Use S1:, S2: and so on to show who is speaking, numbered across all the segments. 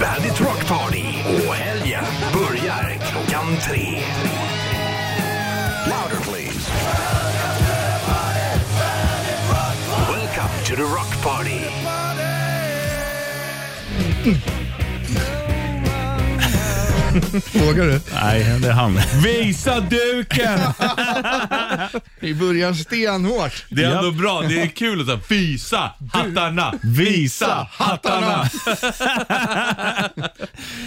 S1: Bandit Rock Party och helgen börjar klockan tre. Louder please. Welcome to the Rock Party.
S2: Vågar du?
S3: Nej, det är han.
S4: Visa duken!
S2: I början stenhårt.
S4: Det är ändå bra. Det är kul att säga visa hattarna. Visa hattarna.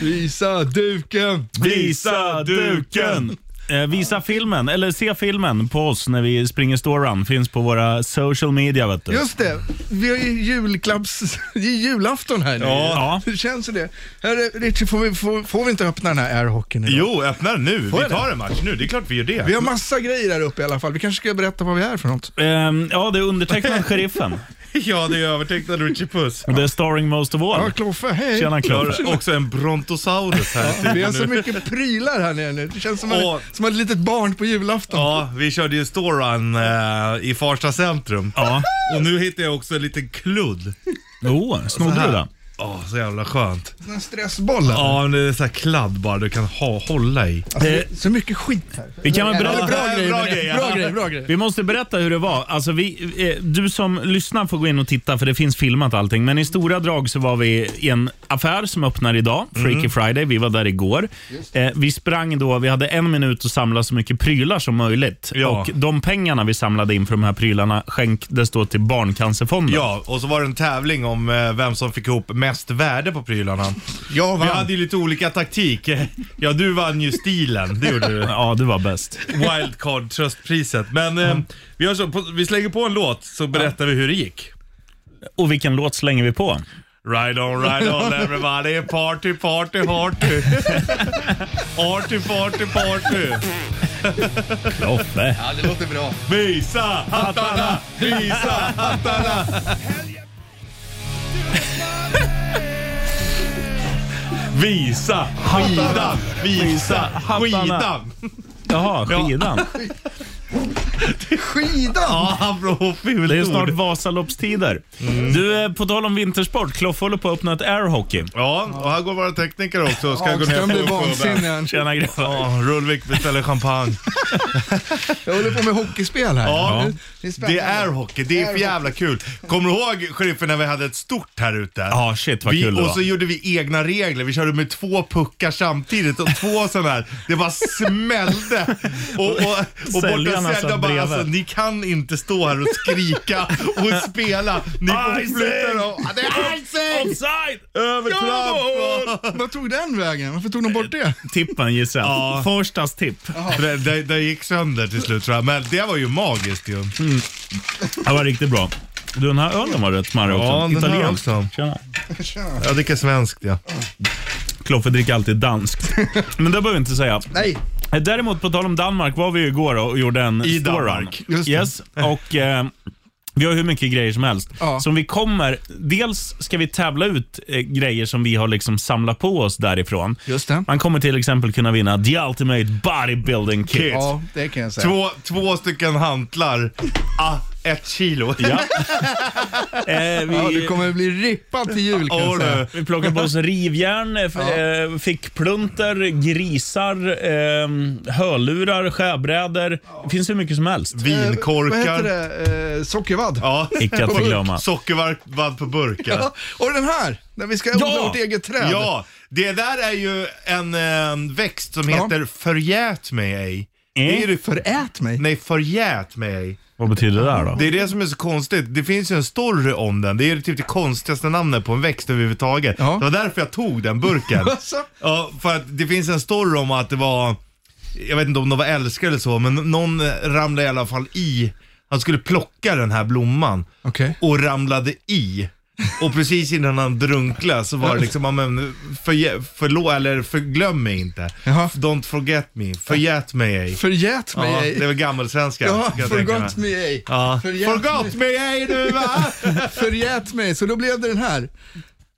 S2: Visa duken.
S3: Visa duken! Eh, Visa filmen, eller se filmen på oss när vi springer storrun. Finns på våra social media vet du.
S2: Just det, vi har ju julklapps... Det är julafton här nu.
S3: Ja.
S2: Hur känns det? Herre, Richie, får vi, får, får vi inte öppna den här airhockeyn idag?
S5: Jo, öppna den nu.
S2: jag
S5: vi tar en match nu. Det är klart vi gör det.
S2: Vi har massa grejer här uppe i alla fall. Vi kanske ska berätta vad vi är för något.
S3: Ehm, Ja, det är undertecknad Sheriffen.
S5: Ja, det är övertecknad Richie Puss.
S3: Och det är starring most of
S2: Ja,
S3: all.
S2: Kloffe, hej.
S3: Tjena
S5: Jag
S3: Kloffe.
S5: har också en Brontosaurus här i
S2: Vi
S5: studion
S2: har så
S5: nu.
S2: mycket prylar här nere nu. Det känns som,
S5: Åh.
S2: en, som ett litet barn på julafton.
S5: Ja, vi körde ju storrun eh, i Farsta centrum.
S3: Ja.
S5: Och nu hittade jag också en liten kludd.
S3: Oh, snodde du den?
S5: Ja, så jävla skönt.
S2: En stressboll här.
S5: Ja, men det är så här kladd bara du kan ha, hålla i.
S2: Alltså, det är så mycket skit här.
S3: Vi kan väl
S2: Eller
S3: berätta-
S2: bra
S5: Ja,
S2: grejer.
S5: bra
S2: men-
S5: grejer.
S2: Bra grejer, bra grejer.
S3: Vi måste berätta hur det var. Alltså vi, eh, du som lyssnar får gå in och titta för det finns filmat allting. Men i stora drag så var vi i en affär som öppnar idag, Freaky
S5: Mm.
S3: Friday. Vi var där igår. Eh, vi sprang då, vi hade en minut att samla så mycket prylar som möjligt.
S5: Ja.
S3: Och de pengarna vi samlade in för de här prylarna skänktes då till Barncancerfonden.
S5: Ja, och så var det en tävling om eh, vem som fick ihop mest värde på prylarna.
S2: Jag
S5: Vi
S2: vann.
S5: hade ju lite olika taktik. Ja, du vann ju stilen. Det gjorde du.
S3: Ja, du var bäst.
S5: Wildcard tröstpriset. Men eh, vi, gör så, på, vi slänger på en låt så berättar vi hur det gick.
S3: Och vilken låt slänger vi på?
S5: Ride on, ride on everybody, party, party, party. Arty, party, party.
S3: Kloffe.
S2: Ja, det låter bra.
S5: Visa hattarna, visa hattarna. Visa skidan, visa skidan.
S3: Jaha, skidan.
S2: Skidan!
S5: Ja, han blev fult
S3: Det är snart
S5: ord. Mm.
S3: Vasaloppstider. Du, eh, på tal om vintersport, Kloffe håller på att öppna ett airhockey.
S5: Ja, och här går våra tekniker också. Ska gå ner
S2: Hagström blir
S5: och få upp
S2: vansinnig.
S5: den.
S2: han.
S3: Tjena grabbar.
S5: Ja, Rulvik beställer champagne.
S2: Jag håller på med hockeyspel här.
S5: Ja,
S2: Det är spännande.
S5: det är hockey. Det är för jävla kul. Kommer du ihåg sheriffen när vi hade ett stort här ute?
S3: Ja, shit vad
S5: vi,
S3: kul det
S5: Och
S3: var.
S5: så gjorde vi egna regler. Vi körde med två puckar samtidigt och två sådana här. Det bara smällde. Och, och, och
S3: Säljarna
S5: borta
S3: satt
S5: säljarna bara,
S3: bredvid.
S5: alltså, ni kan inte stå här och skrika och spela. Ni får
S3: Icing!
S5: flytta dem. Ja, det är icing!
S3: Offside!
S5: Övertramp!
S2: Vad tog den vägen? Varför tog de bort det?
S3: Tippen gissar jag.
S5: Ja.
S3: Förstas tipp.
S5: Det, det, det gick sönder till slut tror jag, men det var ju magiskt ju.
S3: Det var riktigt bra. Du, den här ölen var rätt smarrig också.
S5: Ja, den här
S3: Italiensk.
S5: också.
S3: Tjena.
S5: Jag dricker svenskt ja.
S3: Kloffe dricker alltid danskt. Men det behöver vi inte säga.
S2: Nej.
S3: Eh, Däremot, på tal om Danmark, var vi ju igår och gjorde en
S5: I
S3: storrun.
S5: Danmark.
S2: Just det.
S3: Yes, och eh, vi har hur mycket grejer som helst.
S2: Ja.
S3: Som vi kommer, dels ska vi tävla ut eh, grejer som vi har liksom samlat på oss därifrån.
S2: Just det.
S3: Man kommer till exempel kunna vinna The Ultimate Bodybuilding Kit.
S2: Ja, det kan jag säga.
S5: Två, två stycken hantlar, ah, ett kilo.
S3: Ja. Eh, vi,
S2: Ja, du kommer bli rippad till jul kan
S5: Ja,
S2: jag
S5: du.
S2: säga.
S3: vi plockade på oss rivjärn, eh, f- eh, fick plunter, grisar, eh, hörlurar, skärbrädor. Det finns hur mycket som helst.
S2: Vad heter
S5: Vinkorkar.
S2: det? Eh, sockervadd.
S5: Ja.
S3: Icke att förglömma.
S5: Sockervadd på burkar.
S2: Ja, Och den här, där vi ska odla
S3: Ja!
S2: vårt eget träd.
S5: Ja, det där är ju en eh, växt som
S2: Ja.
S5: heter förjät mig ej. Det är
S3: Eh?
S5: ju,
S2: Förät mig.
S5: nej, förjät mig ej.
S3: Vad betyder det där då?
S5: Det är det som är så konstigt. Det finns ju en story om den. Det är ju typ det konstigaste namnet på en växt överhuvudtaget.
S2: Ja.
S5: Det var därför jag tog den burken.
S2: Alltså,
S5: Ja, för att det finns en story om att det var, jag vet inte om de var älskade eller så, men någon ramlade i alla fall i, han skulle plocka den här blomman
S2: Okej.
S5: och ramlade i. Och precis innan han drunknade så var det liksom, ja, men för, förlåt, eller förglöm mig inte.
S2: Jaha.
S5: Don't forget me, förgät mig ej.
S2: Förgät mig
S5: Ja, det är
S2: ej.
S5: väl gammalsvenska.
S2: Ja,
S5: kan jag tänka
S2: forgot me ej.
S5: Ja.
S2: Förgät mig.
S5: Forgot me ej du va?
S2: Förgät mig, så då blev det den här.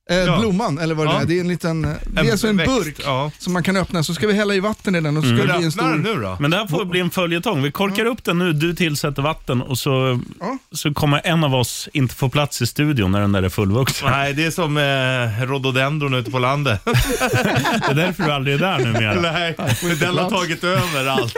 S2: Eh,
S5: Ja.
S2: Blomman, eller vad det
S5: Ja.
S2: är. Det är en liten, eh, det är alltså en
S5: växt,
S2: burk
S5: ja.
S2: som man kan öppna, så ska vi hälla i vatten i den och så ska det
S5: Ska
S2: bli
S5: du
S2: en
S5: Mm. öppna den
S2: stor...
S5: nu då?
S3: Men det här får bli en följetong. Vi korkar upp den nu, du tillsätter vatten och så,
S2: Ja.
S3: så kommer en av oss inte få plats i studion när den där är fullvuxen.
S5: Nej, det är som eh, rhododendron ute på landet.
S3: Det är därför du aldrig är där numera.
S5: Nej, den har tagit över allt.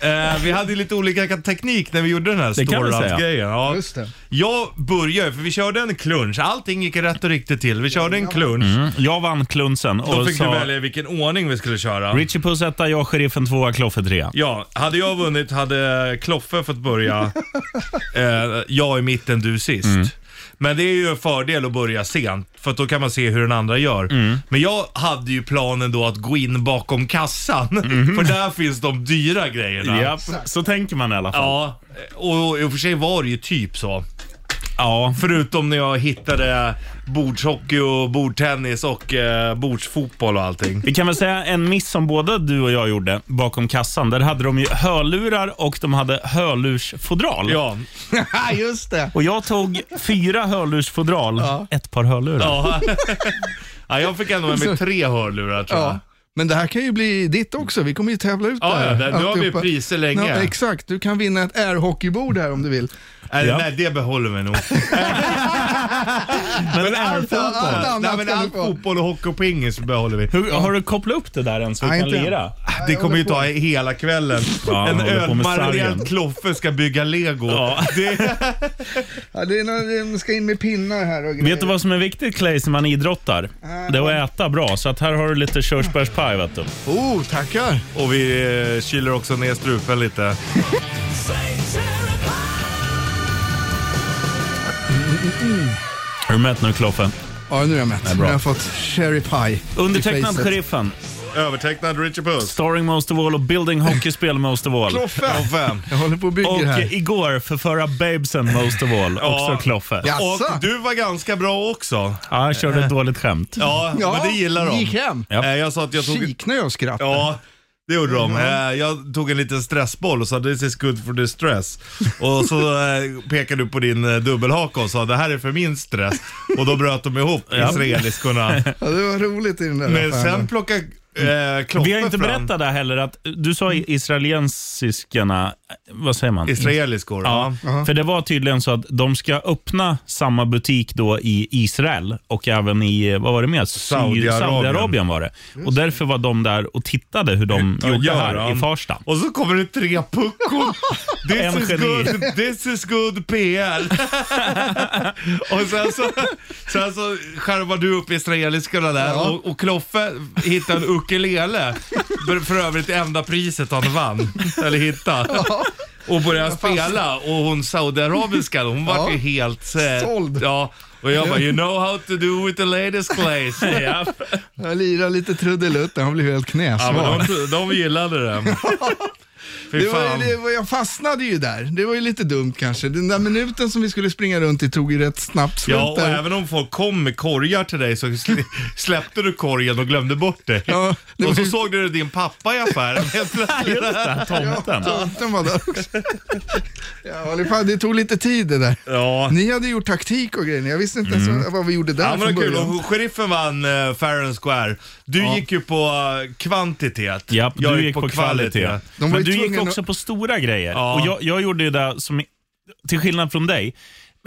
S5: Eh, vi hade ju lite olika teknik när vi gjorde den här
S3: Det kan vi säga.
S5: storrant-grejen. Ja.
S2: Just det.
S5: Jag började, för vi körde en klunch. Allting gick rätt och riktigt till. Vi körde en klunch.
S3: Mm. Jag vann klunsen
S5: Då
S3: och
S5: fick du
S3: sa
S5: välja vilken ordning vi skulle köra.
S3: Richie Puss etta, jag sheriffen tvåa, Kloffe trea.
S5: Ja, hade jag vunnit hade Kloffe fått börja. eh, jag i mitten, du sist. Men det är ju en fördel att börja sent, för att då kan man se hur den andra gör. Men jag hade ju planen då att gå in bakom kassan, för där finns de dyra grejerna.
S3: Ja, så tänker man i alla fall.
S5: Ja, och i och för sig var det ju typ så.
S3: Ja.
S5: Förutom när jag hittade bordshockey och bordtennis och eh, bordsfotboll och allting.
S3: Vi kan väl säga en miss som både du och jag gjorde bakom kassan. Där hade de ju hörlurar och de hade hörlursfodral.
S5: Ja,
S2: Ja, just det.
S3: Och jag tog fyra hörlursfodral, ett par hörlurar.
S5: ja. ja jag fick ändå med mig tre hörlurar tror jag.
S2: Ja. Men det här kan ju bli ditt också. Vi kommer ju tävla ut
S5: Ja,
S2: det här.
S5: ja, där- nu har vi
S2: Alltihopa.
S5: priser länge.
S2: Ja, exakt. Du kan vinna ett airhockeybord här om du vill.
S5: Nej,
S3: Ja.
S5: Äh, nej, det behåller vi nog.
S3: Men är-
S2: Allt annat
S5: nej, men
S2: kan
S5: all
S2: du få.
S5: fotboll och hockey och pingis behåller vi.
S3: hur, har du kopplat upp det där än så vi
S2: Nej,
S3: kan
S2: inte än.
S3: lira?
S5: Det kommer ju ta hela kvällen.
S3: Ja,
S5: en
S3: han håller på med sargen.
S5: ölmarinad kloffe ska bygga lego. Det,
S2: Ja, det är någon, det ska in med pinnar här och grejer.
S3: Vet du vad som är viktigt Clay, när man idrottar? Det är att äta bra, så att här har du lite körsbärspaj. Vet du.
S2: Oh, tackar.
S5: och vi eh, kyler också ner strupen lite.
S3: Är du mätt nu Kloffe?
S2: Ja, nu är jag mätt. Nu har jag fått cherry pie. i
S3: Undertecknad
S2: facet.
S3: Sheriffen,
S5: Övertecknad Richard Puss.
S3: Starring Most of All och Building Hockeyspel Most of All.
S2: Kloffe. Jag håller på och bygger
S3: Och eh,
S2: här.
S3: igår förförra Babesen Most of All, också Kloffe. Ja.
S2: Ja.
S5: Och
S2: Asså?
S5: du var ganska bra också.
S3: jag körde ett dåligt skämt.
S5: Ja,
S2: Ja,
S5: men det gillar de.
S2: gick hem.
S3: Ja.
S5: Eh, Jag sa att jag tog...
S2: Kiknade jag och skrattade.
S5: Ja, det gjorde de.
S3: Mm.
S5: Eh, Jag tog en liten stressboll och sa this is good for the stress. Och så eh, pekade du på din eh, dubbelhaka och sa det här är för min stress. Och då bröt de ihop, israeliskorna.
S2: Ja, det var roligt i den där
S5: Men
S2: affären.
S5: sen plockade eh, Kloffe
S3: Vi har inte
S5: fram
S3: berättat det här heller, att du sa i- israelensiskarna, vad säger man?
S5: israeliskor.
S3: Ja,
S5: Ja.
S3: för det var tydligen så att de ska öppna samma butik då i Israel och även i, eh, vad var det mer? Sy-
S5: Saudiarabien.
S3: Saudiarabien var det. Och därför var de där och tittade hur de
S5: Mm, Ja,
S3: gjorde
S5: gör
S3: här
S5: de.
S3: i Farsta.
S5: Och så kommer det tre puckon. This,
S3: En
S5: is
S3: geni.
S5: good, this is good PL. och sen så, sen så skärvar du upp israeliskorna där
S2: Ja.
S5: och, och Kloffe hittar en ukulele. För, för övrigt det enda priset han vann, eller hittade. Och börjar spela och hon saudiarabiskan hon var
S2: Ja.
S5: ju helt... eh,
S2: Såld.
S5: Ja. Och jag bara, you know how to do with the ladies place.
S3: Ja.
S2: Jag lirade lite trudelutt, han blev helt
S5: Ja,
S2: knäsmal.
S5: men de, de gillade det. Fy
S2: Det var,
S5: fan.
S2: ju- det var, jag fastnade ju där. Det var ju lite dumt kanske. Den där minuten som vi skulle springa runt i tog ju rätt snabbt slut
S5: Ja, och
S2: där.
S5: även om folk kom med korgar till dig så sl- släppte du korgen och glömde bort dig.
S2: Ja, det var
S5: och så
S2: ju-
S5: såg du din pappa i affären helt plötsligt.
S3: Tomten.
S2: Tomten var där också. Ja, det, fan, det tog lite tid det där.
S5: Ja. Mm.
S2: Ni hade gjort taktik och grejer. Jag visste inte ens vad- vad vi gjorde där
S5: Ja, men det
S2: från
S5: var kul.
S2: början.
S5: Och sheriffen vann uh, Fair and Square. Du gick ju på eh, kvantitet.
S3: Ja,
S5: Jag
S3: du gick på kvalitet.
S2: De var
S3: Men
S2: ju
S3: du gick
S2: tvungna
S3: också
S2: att-
S3: på stora grejer.
S5: Ja.
S3: Och jag, jag gjorde ju det som, till skillnad från dig,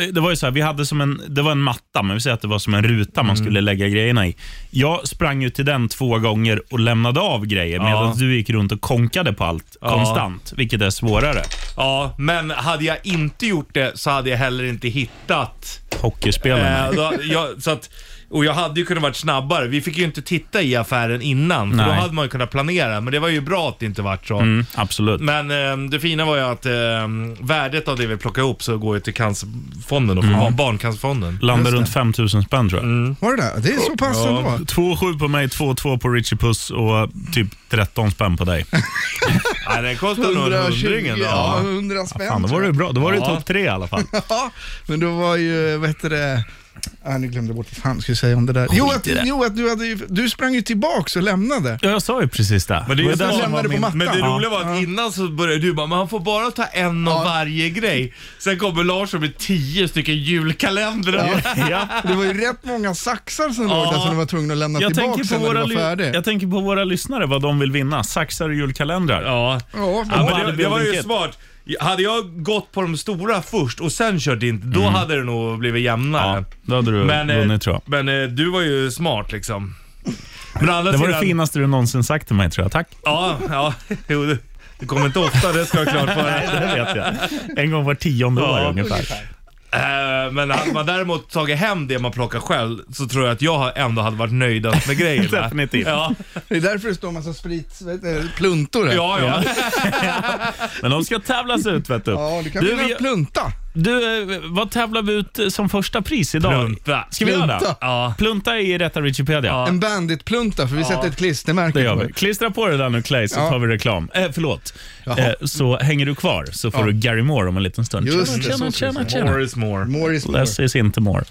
S3: eh, det var ju så här, vi hade som en, det var en matta, men vi säger att det var som en ruta
S2: Mm.
S3: man skulle lägga grejerna i. Jag sprang ut till den två gånger och lämnade av grejer medan du gick runt och konkade på allt konstant, vilket är svårare.
S5: Ja, men hade jag inte gjort det så hade jag heller inte hittat.
S2: Äh.
S3: Hockeyspelarna.
S5: Eh, då, jag, så att, och jag hade ju kunnat varit snabbare. Vi fick ju inte titta i affären innan, för då
S3: Nej.
S5: hade man ju kunnat planera. Men det var ju bra att det inte vart så.
S3: Mm, absolut.
S5: Men ehm, det fina var ju att ehm, värdet av det vi plockade ihop så går ju till cancerfonden och mm. barncancerfonden.
S3: Landade runt 5000 spänn tror jag.
S2: Var det där? Det är Mm. så pass ändå.
S3: 2,7 på mig, 2,2 på Richie Puss och typ 13 spänn på dig.
S5: Nej, den kostar nog en
S2: 120,
S5: hundring ändå.
S2: ja,
S5: Ja.
S2: 100 spänn.
S3: Fan, då var
S2: tror
S3: det
S2: jag.
S3: bra. Då var det
S5: Ja.
S3: topp tre i alla fall.
S2: Ja, men då var ju, vad heter det, Ah, nu glömde jag bort vad fan skulle jag säga om det där. Jo,
S3: Skit
S2: att,
S3: i det.
S2: jo att du, hade, ju- du sprang ju tillbaks och lämnade.
S3: Ja, jag sa ju precis det.
S5: Men det, är ju
S3: Och
S5: smart.
S3: som
S2: lämnar
S3: var
S2: det på
S3: min-
S2: mattan.
S5: men det
S2: Ja.
S5: roliga var att innan så började du bara, men han får bara ta en av varje grej. Sen kommer Larsson med tio stycken julkalendrar.
S3: Ja.
S2: Det var ju rätt många saxar som låg där som de var tvungna att lämna
S3: Jag
S2: tillbaka
S3: tänker, på
S2: sen när du
S3: våra,
S2: var
S3: ly-
S2: färdig.
S3: jag tänker på våra lyssnare, vad de vill vinna. Saxar och julkalendrar.
S5: Ja.
S2: Ja,
S5: Ja,
S2: ja,
S5: men det, det var ju
S3: Building kit.
S5: smart. Hade jag gått på de stora först och sen kört in, då hade det nog blivit jämnare.
S3: Mm. Ja, då hade du
S5: Men, eh,
S3: vunnit tror jag.
S5: men eh, du var ju smart liksom. Men å andra
S3: Det var det
S5: sidan-
S3: finaste du någonsin sagt till mig tror jag. Tack.
S5: Ja, ja. Jo, det, det kommer inte ofta, det ska jag ha klart för mig.
S3: Det vet jag. En gång var tionde
S5: Ja,
S3: år ungefär.
S5: Eh, Men hade man däremot tagit hem det man plockar själv så tror jag att jag har- ändå hade varit nöjdast med grejerna.
S3: Definitivt.
S5: Ja,
S2: det är därför det står en massa sprit, vet du, pluntor här.
S5: ja. ja.
S3: Men de ska tävlas ut vet du.
S2: Ja, du kan
S3: Du,
S2: vinna
S3: vi-
S2: en plunta.
S3: Du, eh, vad tävlar vi ut eh, som första pris idag?
S5: Plunta.
S3: Ska vi göra det?
S2: Plunta.
S5: Ja.
S3: Plunta i rätta Wikipedia.
S5: Ja.
S2: En banditplunta, för vi sätter ett klistermärke
S3: Det gör
S2: på
S3: vi.
S2: den.
S3: Klistra på det där nu Clay så
S2: Ja.
S3: tar vi reklam. Eh, förlåt.
S2: Jaha.
S3: Eh, så hänger du kvar så får du Gary Moore om en liten stund.
S2: Just det,
S3: tjena,
S2: så
S3: tjena,
S2: ska vi
S3: tjena, tjena.
S5: More is more.
S2: More is more.
S3: Less is inte more.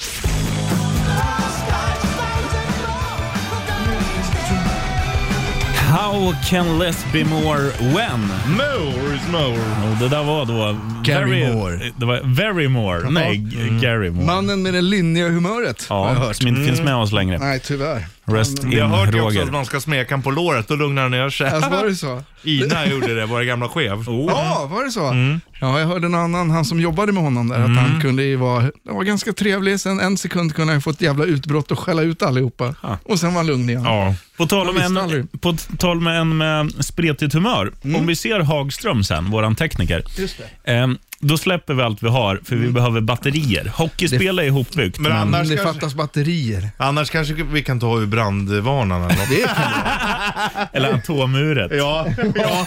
S3: How can less be more when?
S5: More is more.
S3: Och det där var då...
S2: Gary
S3: very,
S2: Moore.
S3: Det var very more. Nej, G- Gary Moore.
S2: Mannen med det linjiga humöret, har jag hört.
S3: ja,
S2: Mm.
S3: som inte finns med oss längre.
S2: Nej, tyvärr.
S3: Rest in
S5: Jag har hört ju också att
S3: Roger.
S5: man ska smeka en på låret, då lugnar han ner sig.
S2: Alltså, var det så?
S5: Ina gjorde det, vår gamla chef.
S3: Oh.
S2: Ja,
S3: Mm.
S2: var det så? Ja, jag hörde en annan, han som jobbade med honom där, att
S3: Mm.
S2: han kunde ju vara, han var ganska trevlig, sen en sekund kunde han få ett jävla utbrott och skälla ut allihopa. Och sen var han lugn igen.
S3: Ja. På tal om
S2: Man visste
S3: en,
S2: aldrig.
S3: på t- tal med en med spretigt humör. Om vi ser Hagström sen, våran tekniker,
S2: Just det.
S3: ehm, då släpper vi allt vi har för vi behöver batterier. Hockeyspel är ihopbyggt.
S5: Men
S3: Men
S5: annars
S2: Men det
S5: kanske,
S2: fattas batterier.
S5: annars kanske vi kan ta ur brandvarnaren eller något.
S2: Det, är,
S3: eller atomuret.
S5: Ja, ja.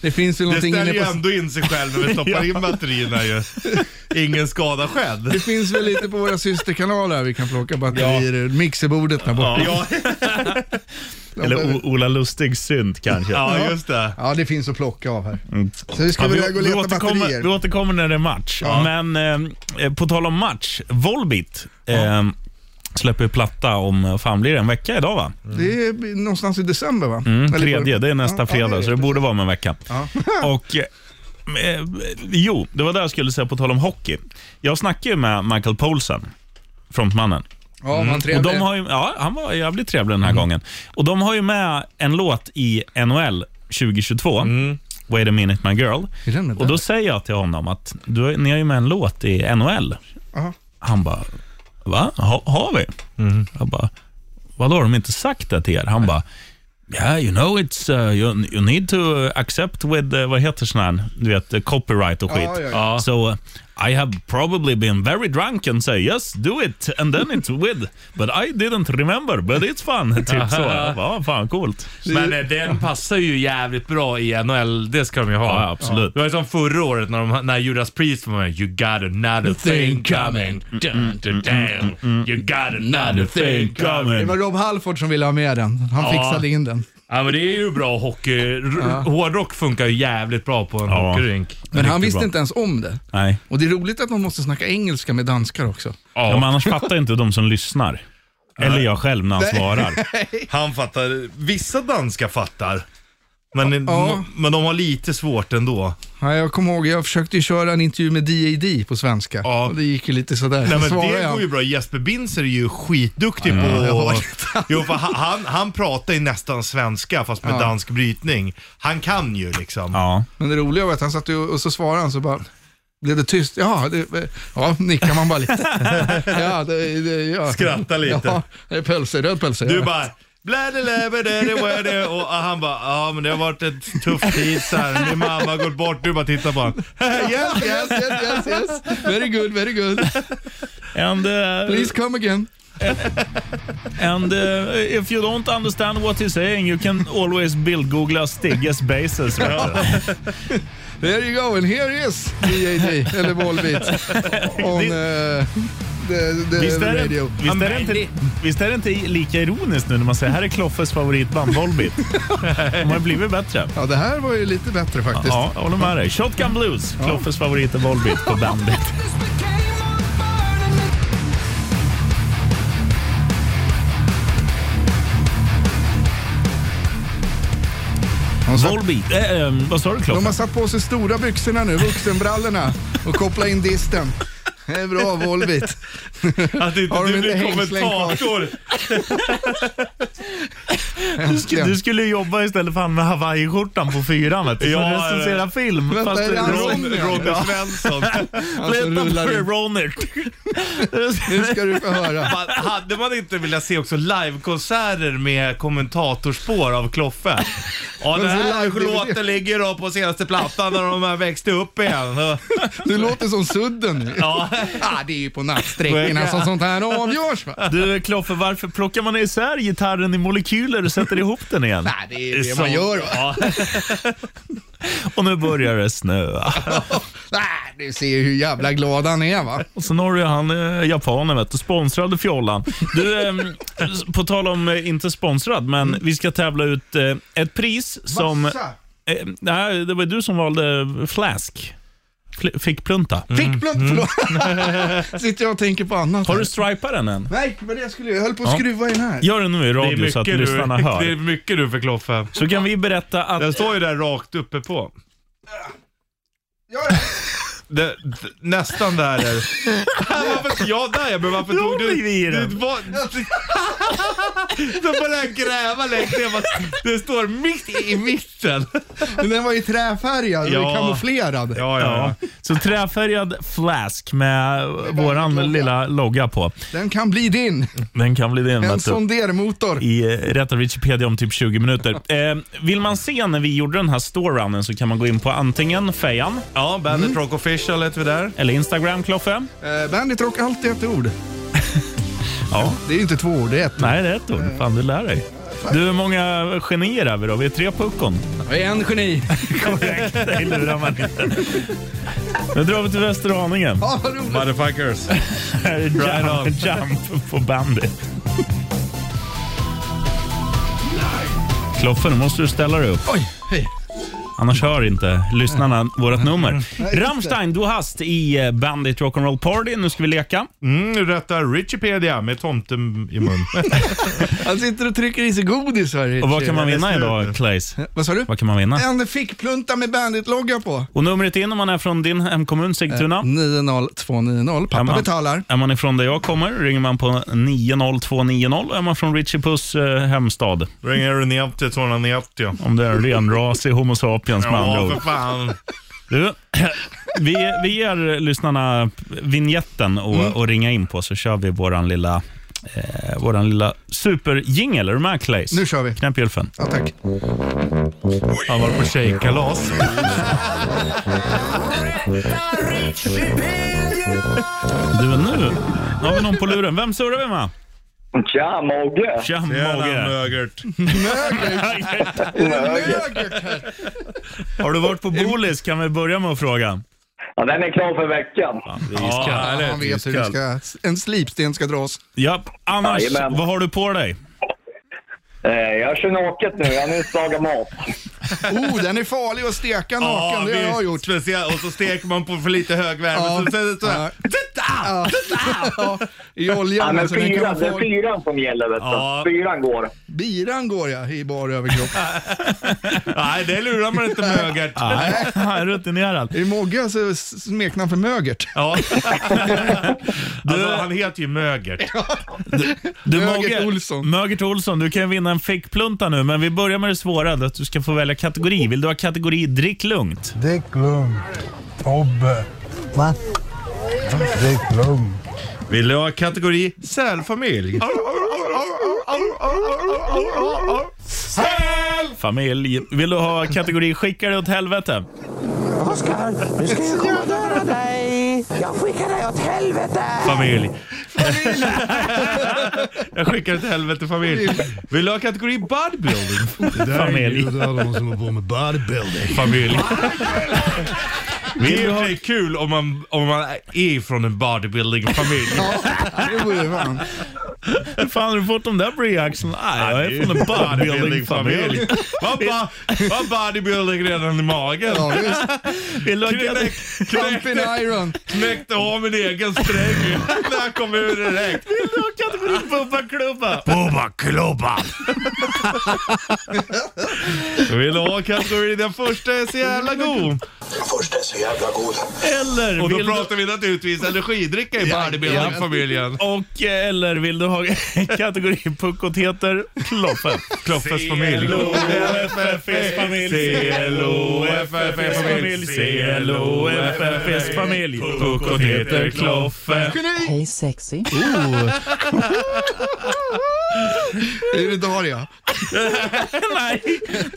S2: det finns ju
S5: det
S2: någonting
S5: ställer
S2: inne
S5: ju
S2: på...
S5: ändå in sig själv när vi stoppar in batterierna ju. Ingen skada skedd.
S2: Det finns väl lite på våra systerkanaler här vi kan plocka batterier ur. Mixerbordet där borta.
S5: Ja,
S3: Eller o- Ola Lustig synt kanske. Mm.
S5: ja just det.
S2: Ja, det finns att plocka av här. Så vi Mm. ska
S3: Ja,
S2: väl gå och leta
S3: återkommer, vi
S2: batterier.
S3: återkommer när det är match. Men eh, på tal om match, Volbit eh, släpper platta om, vad fan blir det, en vecka idag
S2: Mm.
S3: va?
S2: Det är någonstans i december va?
S3: Mm,
S2: Eller-
S3: tredje, det är nästa
S2: Ja, ja,
S3: fredag,
S2: det är
S3: så det borde vara om en vecka. Och, eh, eh, jo, det var det jag skulle säga på tal om hockey. Jag snackade ju med Michael Poulsen, frontmannen.
S2: Ja, man
S3: Och
S2: trevlig. Mm.
S3: de har ju, ja, han var jävligt trevlig den här gången. Och De har ju med en låt i NHL 2022, Wait a minute my girl.
S2: Är den med
S3: Och
S2: Mm. där?
S3: Då säger jag till honom att du, ni har ju med en låt i NHL.
S2: Aha. Mm.
S3: Han bara, va? Ha, har vi? Jag bara, vadå har de inte sagt det till er? Han bara, Yeah, you know it's uh, you, you need to accept with uh, vad heter sån här, du vet uh, copyright och
S2: Ja,
S3: skit.
S2: ja, ja.
S3: So uh, I have probably been very drunk and say yes, do it and then it's with, but I didn't remember, but it's fun. typ så. Jag bara, Ja, fan coolt.
S5: Men eh, den passar ju jävligt bra i NHL, det ska de ju ha.
S3: Ja, absolut.
S5: Det var ju som förra året när, de, när Judas Priest var med. You got another thing coming. Dun, dun, dun. You got another thing coming.
S2: Det var Rob Halford som ville ha med den. Han fixade in den.
S5: Ja men det är ju bra hockey. R- Hårdrock funkar ju jävligt bra på en
S3: Ja.
S5: hockeyrink.
S2: Men han
S3: Riktigt
S2: visste
S3: bra.
S2: inte ens om det.
S3: Nej,
S2: Och det är roligt att man måste snacka engelska med danskar också.
S3: ja. men annars fattar inte de som lyssnar. Eller jag själv när han svarar.
S5: Han fattar. Vissa danska fattar. Men,
S2: Ja.
S5: men de har lite svårt ändå.
S2: Ja, jag kommer ihåg, jag försökte ju köra en intervju med DAD på svenska.
S5: Ja.
S2: Och det gick ju lite sådär.
S5: Nej,
S2: Så
S5: men
S2: svarade
S5: det
S2: jag.
S5: går ju bra. Jesper Binzer är ju skitduktig
S2: jag
S5: på...
S2: har
S5: Jo, för han- han, han pratar ju nästan svenska fast med dansk brytning. Han kan ju liksom.
S3: Ja.
S2: Men det roliga var att han satt ju och så svarade han så bara, blev det tyst? Ja, det, ja nickar man bara lite. ja, det, det, ja.
S5: Skratta lite.
S2: Ja, det är pölse, röd pölse.
S5: Du
S2: ja.
S5: bara... Blä, blä, blä, blä, blä, blä, blä. Och han bara, ja men det har varit en tuff tid sen. Min mamma har gått bort. Du bara tittar på honom.
S2: Yes, yes, yes, yes, yes. Very good, very good.
S3: And, uh,
S2: Please come again.
S3: And uh, if you don't understand what he's saying you can always bildgoogla Stigges bases. vet du.
S2: There you go, and here is DAD, eller Volbeat, on uh, the, the
S3: Visst är, det,
S2: radio.
S3: visst, är det inte, visst är det inte lika ironiskt nu när man säger här är Kloffes favoritband Volbeat? De har blivit bättre.
S2: Ja, det här var ju lite bättre faktiskt.
S3: Ja, jag håller med dig. Shotgun Blues, Kloffes favorit är Volbeat på bandet.
S2: sa-
S3: Volbeat. Eh, eh, vad sa du
S2: De
S3: Kloffe?
S2: har satt på sig stora byxorna nu, vuxenbrallorna, och kopplat in disten. Det är bra, Volbit.
S5: Att det inte
S2: Har de
S5: du
S2: inte
S5: blir
S2: hängslen kvar?
S5: kommentator.
S3: Du, skulle- du skulle jobba istället för han med hawaiiskjortan på fyran vet du.
S5: Ja,
S3: Ja, recensera film.
S2: Vänta, är det han som-
S5: Ron- Robert Svensson.
S2: Alltså, rullar
S3: Leta
S2: in.
S3: Ronert.
S2: Nu ska du få höra.
S5: Man, hade man inte velat se också livekonserter med kommentatorspår av Kloffe? Ja, den
S2: Men så
S5: här
S2: live-DVD.
S5: låten ligger då på senaste plattan när de här växte upp igen.
S2: Du låter som Sudden nu.
S5: Ja.
S2: Ah, det är ju på nattsträckorna som sånt här avgörs. Va?
S3: Du Kloffe, varför plockar man isär gitarren i molekyler och sätter ihop den igen?
S2: Nej, det är det man gör. Va?
S5: Ja.
S3: Och nu börjar det snöa.
S2: Nej, du ser ju hur jävla glad han är. Va?
S3: Och sen har du ju han eh, japanen vet du, sponsrade fjollan. Du, ehm, på tal om, eh, inte sponsrad, men vi ska tävla ut eh, ett pris som...
S2: Massa.
S3: Eh, nej, det var du som valde flask. Fl- fick plunta.
S2: Fickblunt, förlåt. Sitter jag och tänker på annat.
S3: Har du
S2: här.
S3: stripat den än?
S2: Nej, vad det jag skulle göra. Jag höll på att skruva i den här.
S3: Gör det nu i radio så att lyssnarna
S5: du,
S3: hör.
S5: det är mycket du för Kloffe.
S3: Så kan vi berätta
S5: Den
S3: att...
S5: står ju där rakt uppe på.
S2: Gör det.
S5: Det, d- nästan där är varför, Ja, där ja, men varför
S3: Då
S5: tog du...
S3: blir vi i den.
S5: du var, de började gräva längst ner, fast det står mitt i mitten.
S2: Men den var ju träfärgad och
S5: Ja.
S2: kamouflerad.
S5: Ja,
S3: Ja, så träfärgad flask med våran
S2: logga.
S3: lilla logga på.
S2: Den kan bli din.
S3: Den kan bli din.
S2: En
S3: vet du.
S2: sondermotor.
S3: i eh, Rätta Wikipedia om typ 20 minuter. Eh, vill man se när vi gjorde den här storerunnen så kan man gå in på antingen Fejan
S5: Ja, Bandit Rock Official heter vi där.
S3: eller Instagram, Kloffe.
S2: Eh, Bandit Rock, alltid ett ord.
S3: Ja.
S2: Det är ju inte två ord, det är ett.
S3: Nej, det är ett ord. Fan, du lär dig. Du, hur många genier är vi då? Vi är tre puckon.
S2: Jag är en geni.
S3: Korrekt. Det lurar man inte. Nu drar vi till Västerhaninge.
S2: Ja, vad roligt.
S5: Motherfuckers.
S3: Här är
S5: on.
S3: jump, jump på Bandit. Kloffe, nu måste du ställa dig upp.
S2: Oj, hej.
S3: Annars hör inte lyssnarna vårt nummer.
S2: just det.
S3: Rammstein, du hast i eh, Bandit Rock'n'Roll Party. Nu ska vi leka.
S5: Mm, nu rättar Richipedia med tomten i mun.
S2: Han sitter och trycker i sig godis här.
S3: Och vad kan man
S5: det är
S3: vinna
S5: slut
S3: idag,
S5: nu.
S3: Claes?
S2: Vad sa du?
S3: Vad kan man vinna?
S2: En fickplunta med Bandit-logga på.
S3: Och numret in om man är från din hemkommun
S2: Eh,
S3: Sigtuna.
S2: 90290. Pappa
S3: Är man-
S2: betalar.
S3: Är man ifrån där jag kommer ringer man på 90290. Och Är man från Richie Puss eh, hemstad,
S5: Ringer du ner till 290?
S3: om det är renrasig Homo sapiens med andra
S5: Ja,
S3: ord.
S5: för fan.
S3: Du, vi, vi ger lyssnarna vignetten och,
S2: Mm.
S3: och ringa in på så kör vi våran lilla, eh, våran lilla superjingel. Är du med Claes?
S2: Nu kör vi.
S3: Knäpp gylfen.
S2: Ja, tack.
S5: Han var på tjejkalas.
S3: Du, nu har vi någon på luren. Vem surrar vi med?
S6: Tja, Mogge!
S3: Tja,
S5: Tjena
S3: Mogge.
S5: mögert.
S3: Har du varit på Bolis kan vi börja med att fråga.
S6: Ja, den är klar för veckan.
S5: Ja,
S2: Ja,
S5: härligt.
S2: han vet hur det ska, en slipsten ska dras.
S3: Ja, annars,
S6: Jajamän.
S3: vad har du på dig?
S6: Eh, jag kör naket nu. Jag har nyss lagat mat.
S2: Oh, den är farlig att steka
S5: Ja,
S2: naken. det har
S5: visst.
S2: jag gjort.
S5: Speciellt, och så steker man på för lite hög värme.
S2: Ja.
S5: Så sen så här.
S2: Ja.
S5: Titta!
S2: Ja, I
S6: Ja,
S2: oljan.
S6: men
S2: alltså, den kan
S6: fyran,
S2: vara
S6: det är
S2: farlig.
S6: fyran som gäller. Vet du.
S5: Ja.
S6: Fyran går.
S2: Biran går jag i bar överkropp.
S5: Nej, det lurar man inte mögert.
S3: Nej, han är rutinerad.
S2: I Mogge så s- smeknamn för mögert.
S5: Ja. Alltså, han heter ju mögert.
S3: Du,
S2: Mögert
S3: Mogge-
S2: Olsson.
S3: Mögert Olsson, du kan vinna en fickplunta nu, men vi börjar med det svåra, att du ska få välja kategori. Vill du ha kategori drick lugnt?
S7: Dick Lund. Tobbe. Va? Dick Lund.
S5: Vill du ha kategori sälfamilj?
S3: Familj. Vill du ha kategori skicka dig åt helvete?
S8: Oskar, nu ska jag komma och döda dig. Jag skickar dig åt helvete.
S5: Familj. Jag skickar det till helvete familj. Vill du ha kategori bodybuilding?
S3: Familj.
S7: Det är de som har på med bodybuilding.
S5: Familj. Det
S3: Vill
S5: är
S3: du
S5: i och för
S3: ha,
S5: sig kul om man, om man är från en bodybuilding-familj.
S2: Det vore fan.
S3: hur fan har du fått de där breaxlarna? Nej, jag är från en bodybuilding-familj.
S5: Man ba- man bodybuilding redan i magen.
S2: Ja, visst.
S3: Vill du ha
S5: Knäck,
S3: kategori-
S5: knäck,
S2: Pumping iron.
S5: knäckte av min egen sträng när jag kom ur direkt.
S3: vill du ha kategori bubba klubba?
S5: Bobba klubba! Vill du ha kategorin den första är så jävla god?
S8: Först är så jävla god.
S3: Eller
S5: Och då
S3: vill du...
S5: pratar vi naturligtvis energidricka i Barbie-familjen.
S3: Och eh, eller vill du ha kategorin puckotheter? Kloffe.
S5: Kloffes familj.
S3: LOFFs familj.
S5: CLOFFs familj.
S3: CLOFFs familj. Puckotheter, Kloffe.
S9: Hej sexy.
S2: Oh. Är det Daria?
S3: Nej,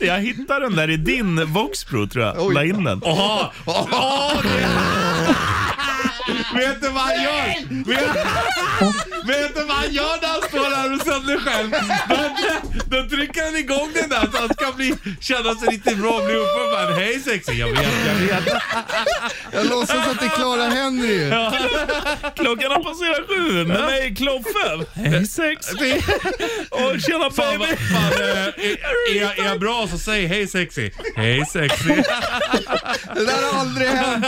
S3: jag hittade den där i din Voxpro tror jag. La in den.
S5: Jaha! Jaha! det- Vet du vad han gör? Vet, vet du vad han gör när han står där och sänder själv? Då, då trycker han igång den där så han ska bli, känna sig lite bra och bli uppumpad. Hej sexy, jag vet, jag vet.
S2: Jag låtsas att det är Clara Henry.
S3: Klockan har passerat sju, men det är Kloffe. Hej sex. Och tjena
S5: Fan, vad,
S3: baby.
S5: fan, eh, är, är, jag- är jag bra så säg hej sexy. Hej sexy.
S2: Det där har aldrig hänt.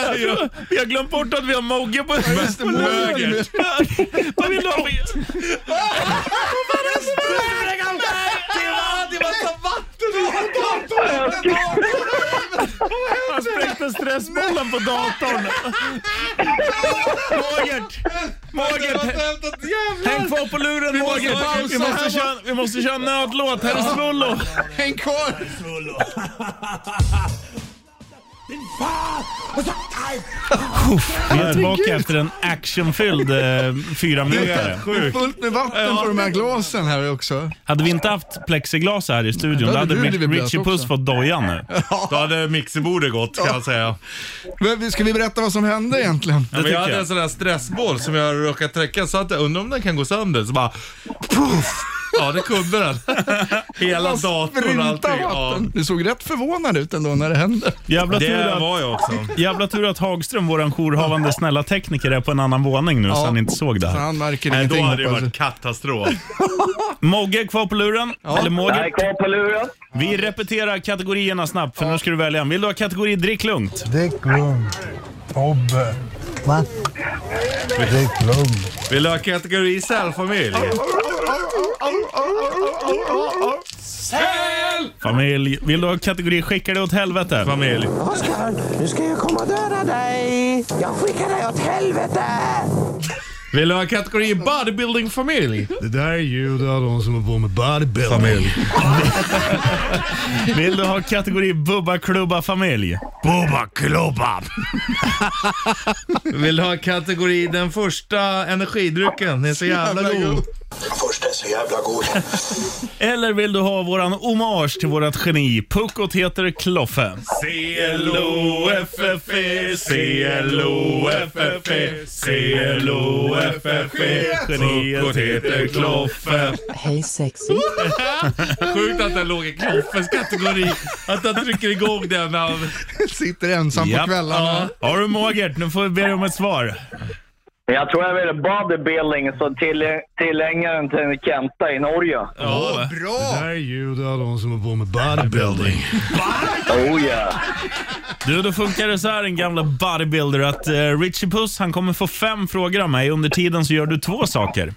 S3: Vi har glömt bort att vi har Mogge på
S2: Just det, Mögel.
S3: Vad vill du ha? Han spräckte stressbollen på datorn. Mogert! Mogert! Häng kvar på luren Mogert! Vi måste köra, vi måste köra en nödlåt. Här är Svullo.
S2: Häng kvar.
S3: Vi är tillbaka efter en actionfylld eh, fyra minuter.
S2: Fullt med vatten på de här glasen här också.
S3: Hade vi inte haft plexiglas här i studion, då
S2: Då
S3: hade
S2: hade du
S3: Rich-
S2: blivit blöt
S3: Richie Puss
S2: också.
S3: fått dojan nu.
S5: Då hade mixerbordet gått kan jag säga.
S2: Men ska vi berätta vad som hände egentligen?
S5: Ja, men jag
S3: tycker
S5: hade
S3: jag.
S5: en sån där stressboll som jag råkat träcka så att jag undrar om den kan gå sönder. Så bara... Puff. Ja, det kunde den. Hela datorn och
S2: Spruta
S5: allting. Ja.
S2: vatten. Du såg rätt förvånad ut ändå när det hände.
S3: Jävla tur
S5: Det
S3: att
S5: var jag också.
S3: Jävla tur att Hagström, våran jourhavande snälla tekniker, är på en annan våning nu så
S2: Ja.
S3: han inte såg
S2: Så
S3: det här.
S2: han märker
S5: Nej,
S2: ingenting
S5: då hade det
S2: hoppas jag.
S5: varit katastrof.
S3: Mogge är kvar på luren. Eller Mogge.
S6: Nej, kvar på luren.
S3: Vi repeterar kategorierna snabbt för nu ska du välja en. Vill du ha kategori drick lugnt?
S7: Dick lugn. Obbe.
S9: Va?
S7: Dick lugn.
S5: Vill du ha kategori sälfamilj?
S3: Familj. Vill du ha kategori skicka dig åt helvete?
S5: Familj.
S8: Oskar, nu ska jag komma och döda dig. Jag skickar dig åt helvete.
S5: Vill du ha kategori bodybuilding-familj?
S7: Det där är ljud av de som har på med bodybuilding.
S3: Vill du ha kategori bubba klubba familj?
S5: Bubba klubba. Vill du ha kategori den första energidrycken? Den är så jävla god.
S8: Först är så jävla god.
S3: Eller vill du ha våran hommage till vårat geni? Puckot heter Kloffe.
S5: C-L-O-F-F-E, C-L-O-F-F-E, C-L-O-F-F-E,
S3: Geniet heter
S5: Kloffe.
S9: Hej sexy.
S5: Sjukt att den låg i Kloffes kategori. Att han trycker igång den av...
S2: Sitter ensam på
S3: Japp.
S2: kvällarna.
S3: Har du Mogert, nu får vi be dig om ett svar.
S6: Jag tror jag ville bodybuilding så till, tillägnar den till Kenta i Norge.
S3: Ja.
S7: Det
S2: Bra!
S7: där är ljud av de som har på med bodybuilding.
S6: Oh yeah.
S3: Du, då funkar det så här den gamla bodybuilder att eh, Richie Puss han kommer få fem frågor av mig. Under tiden så gör du två saker.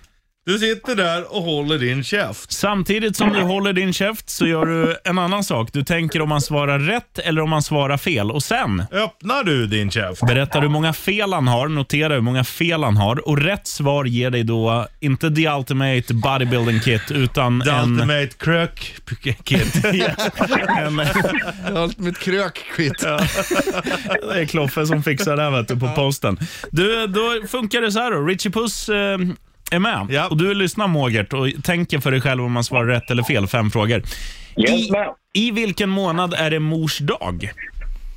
S5: Du sitter där och håller din käft.
S3: Samtidigt som du håller din käft så gör du en annan sak. Du tänker om han svarar rätt eller om han svarar fel. Och sen
S5: Öppnar du din käft?
S3: berättar du hur många fel han har, notera hur många fel han har. Och rätt svar ger dig då inte the ultimate bodybuilding kit utan
S5: The
S3: en...
S5: ultimate krök kid.
S3: en
S2: Allt mitt krökskit.
S3: det är Kloffe som fixar det här vet du, på posten. Du, då funkar det så här då. Richie Puss eh, är med
S5: Ja.
S3: och du lyssnar Mogert och tänker för dig själv om man svarar rätt eller fel. Fem frågor.
S6: Yes,
S3: I,
S6: ma'am.
S3: I vilken månad är det mors dag?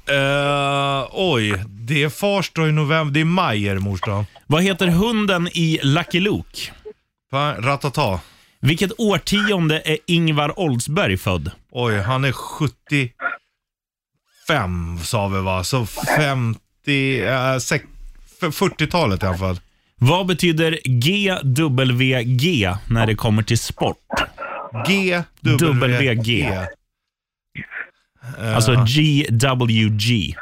S5: Eh, oj, det är fars dag i november. Det är maj är det mors dag.
S3: Vad heter hunden i Lucky Luke?
S5: Fan, Ratata.
S3: Vilket årtionde är Ingvar Oldsberg född?
S5: Oj, han är 75 sa vi va? Så 50, eh, sex- f- 40-talet i alla fall.
S3: Vad betyder GWG när det kommer till sport?
S5: G, E,
S3: WG.
S5: G.
S6: Eh.
S3: Alltså GWG.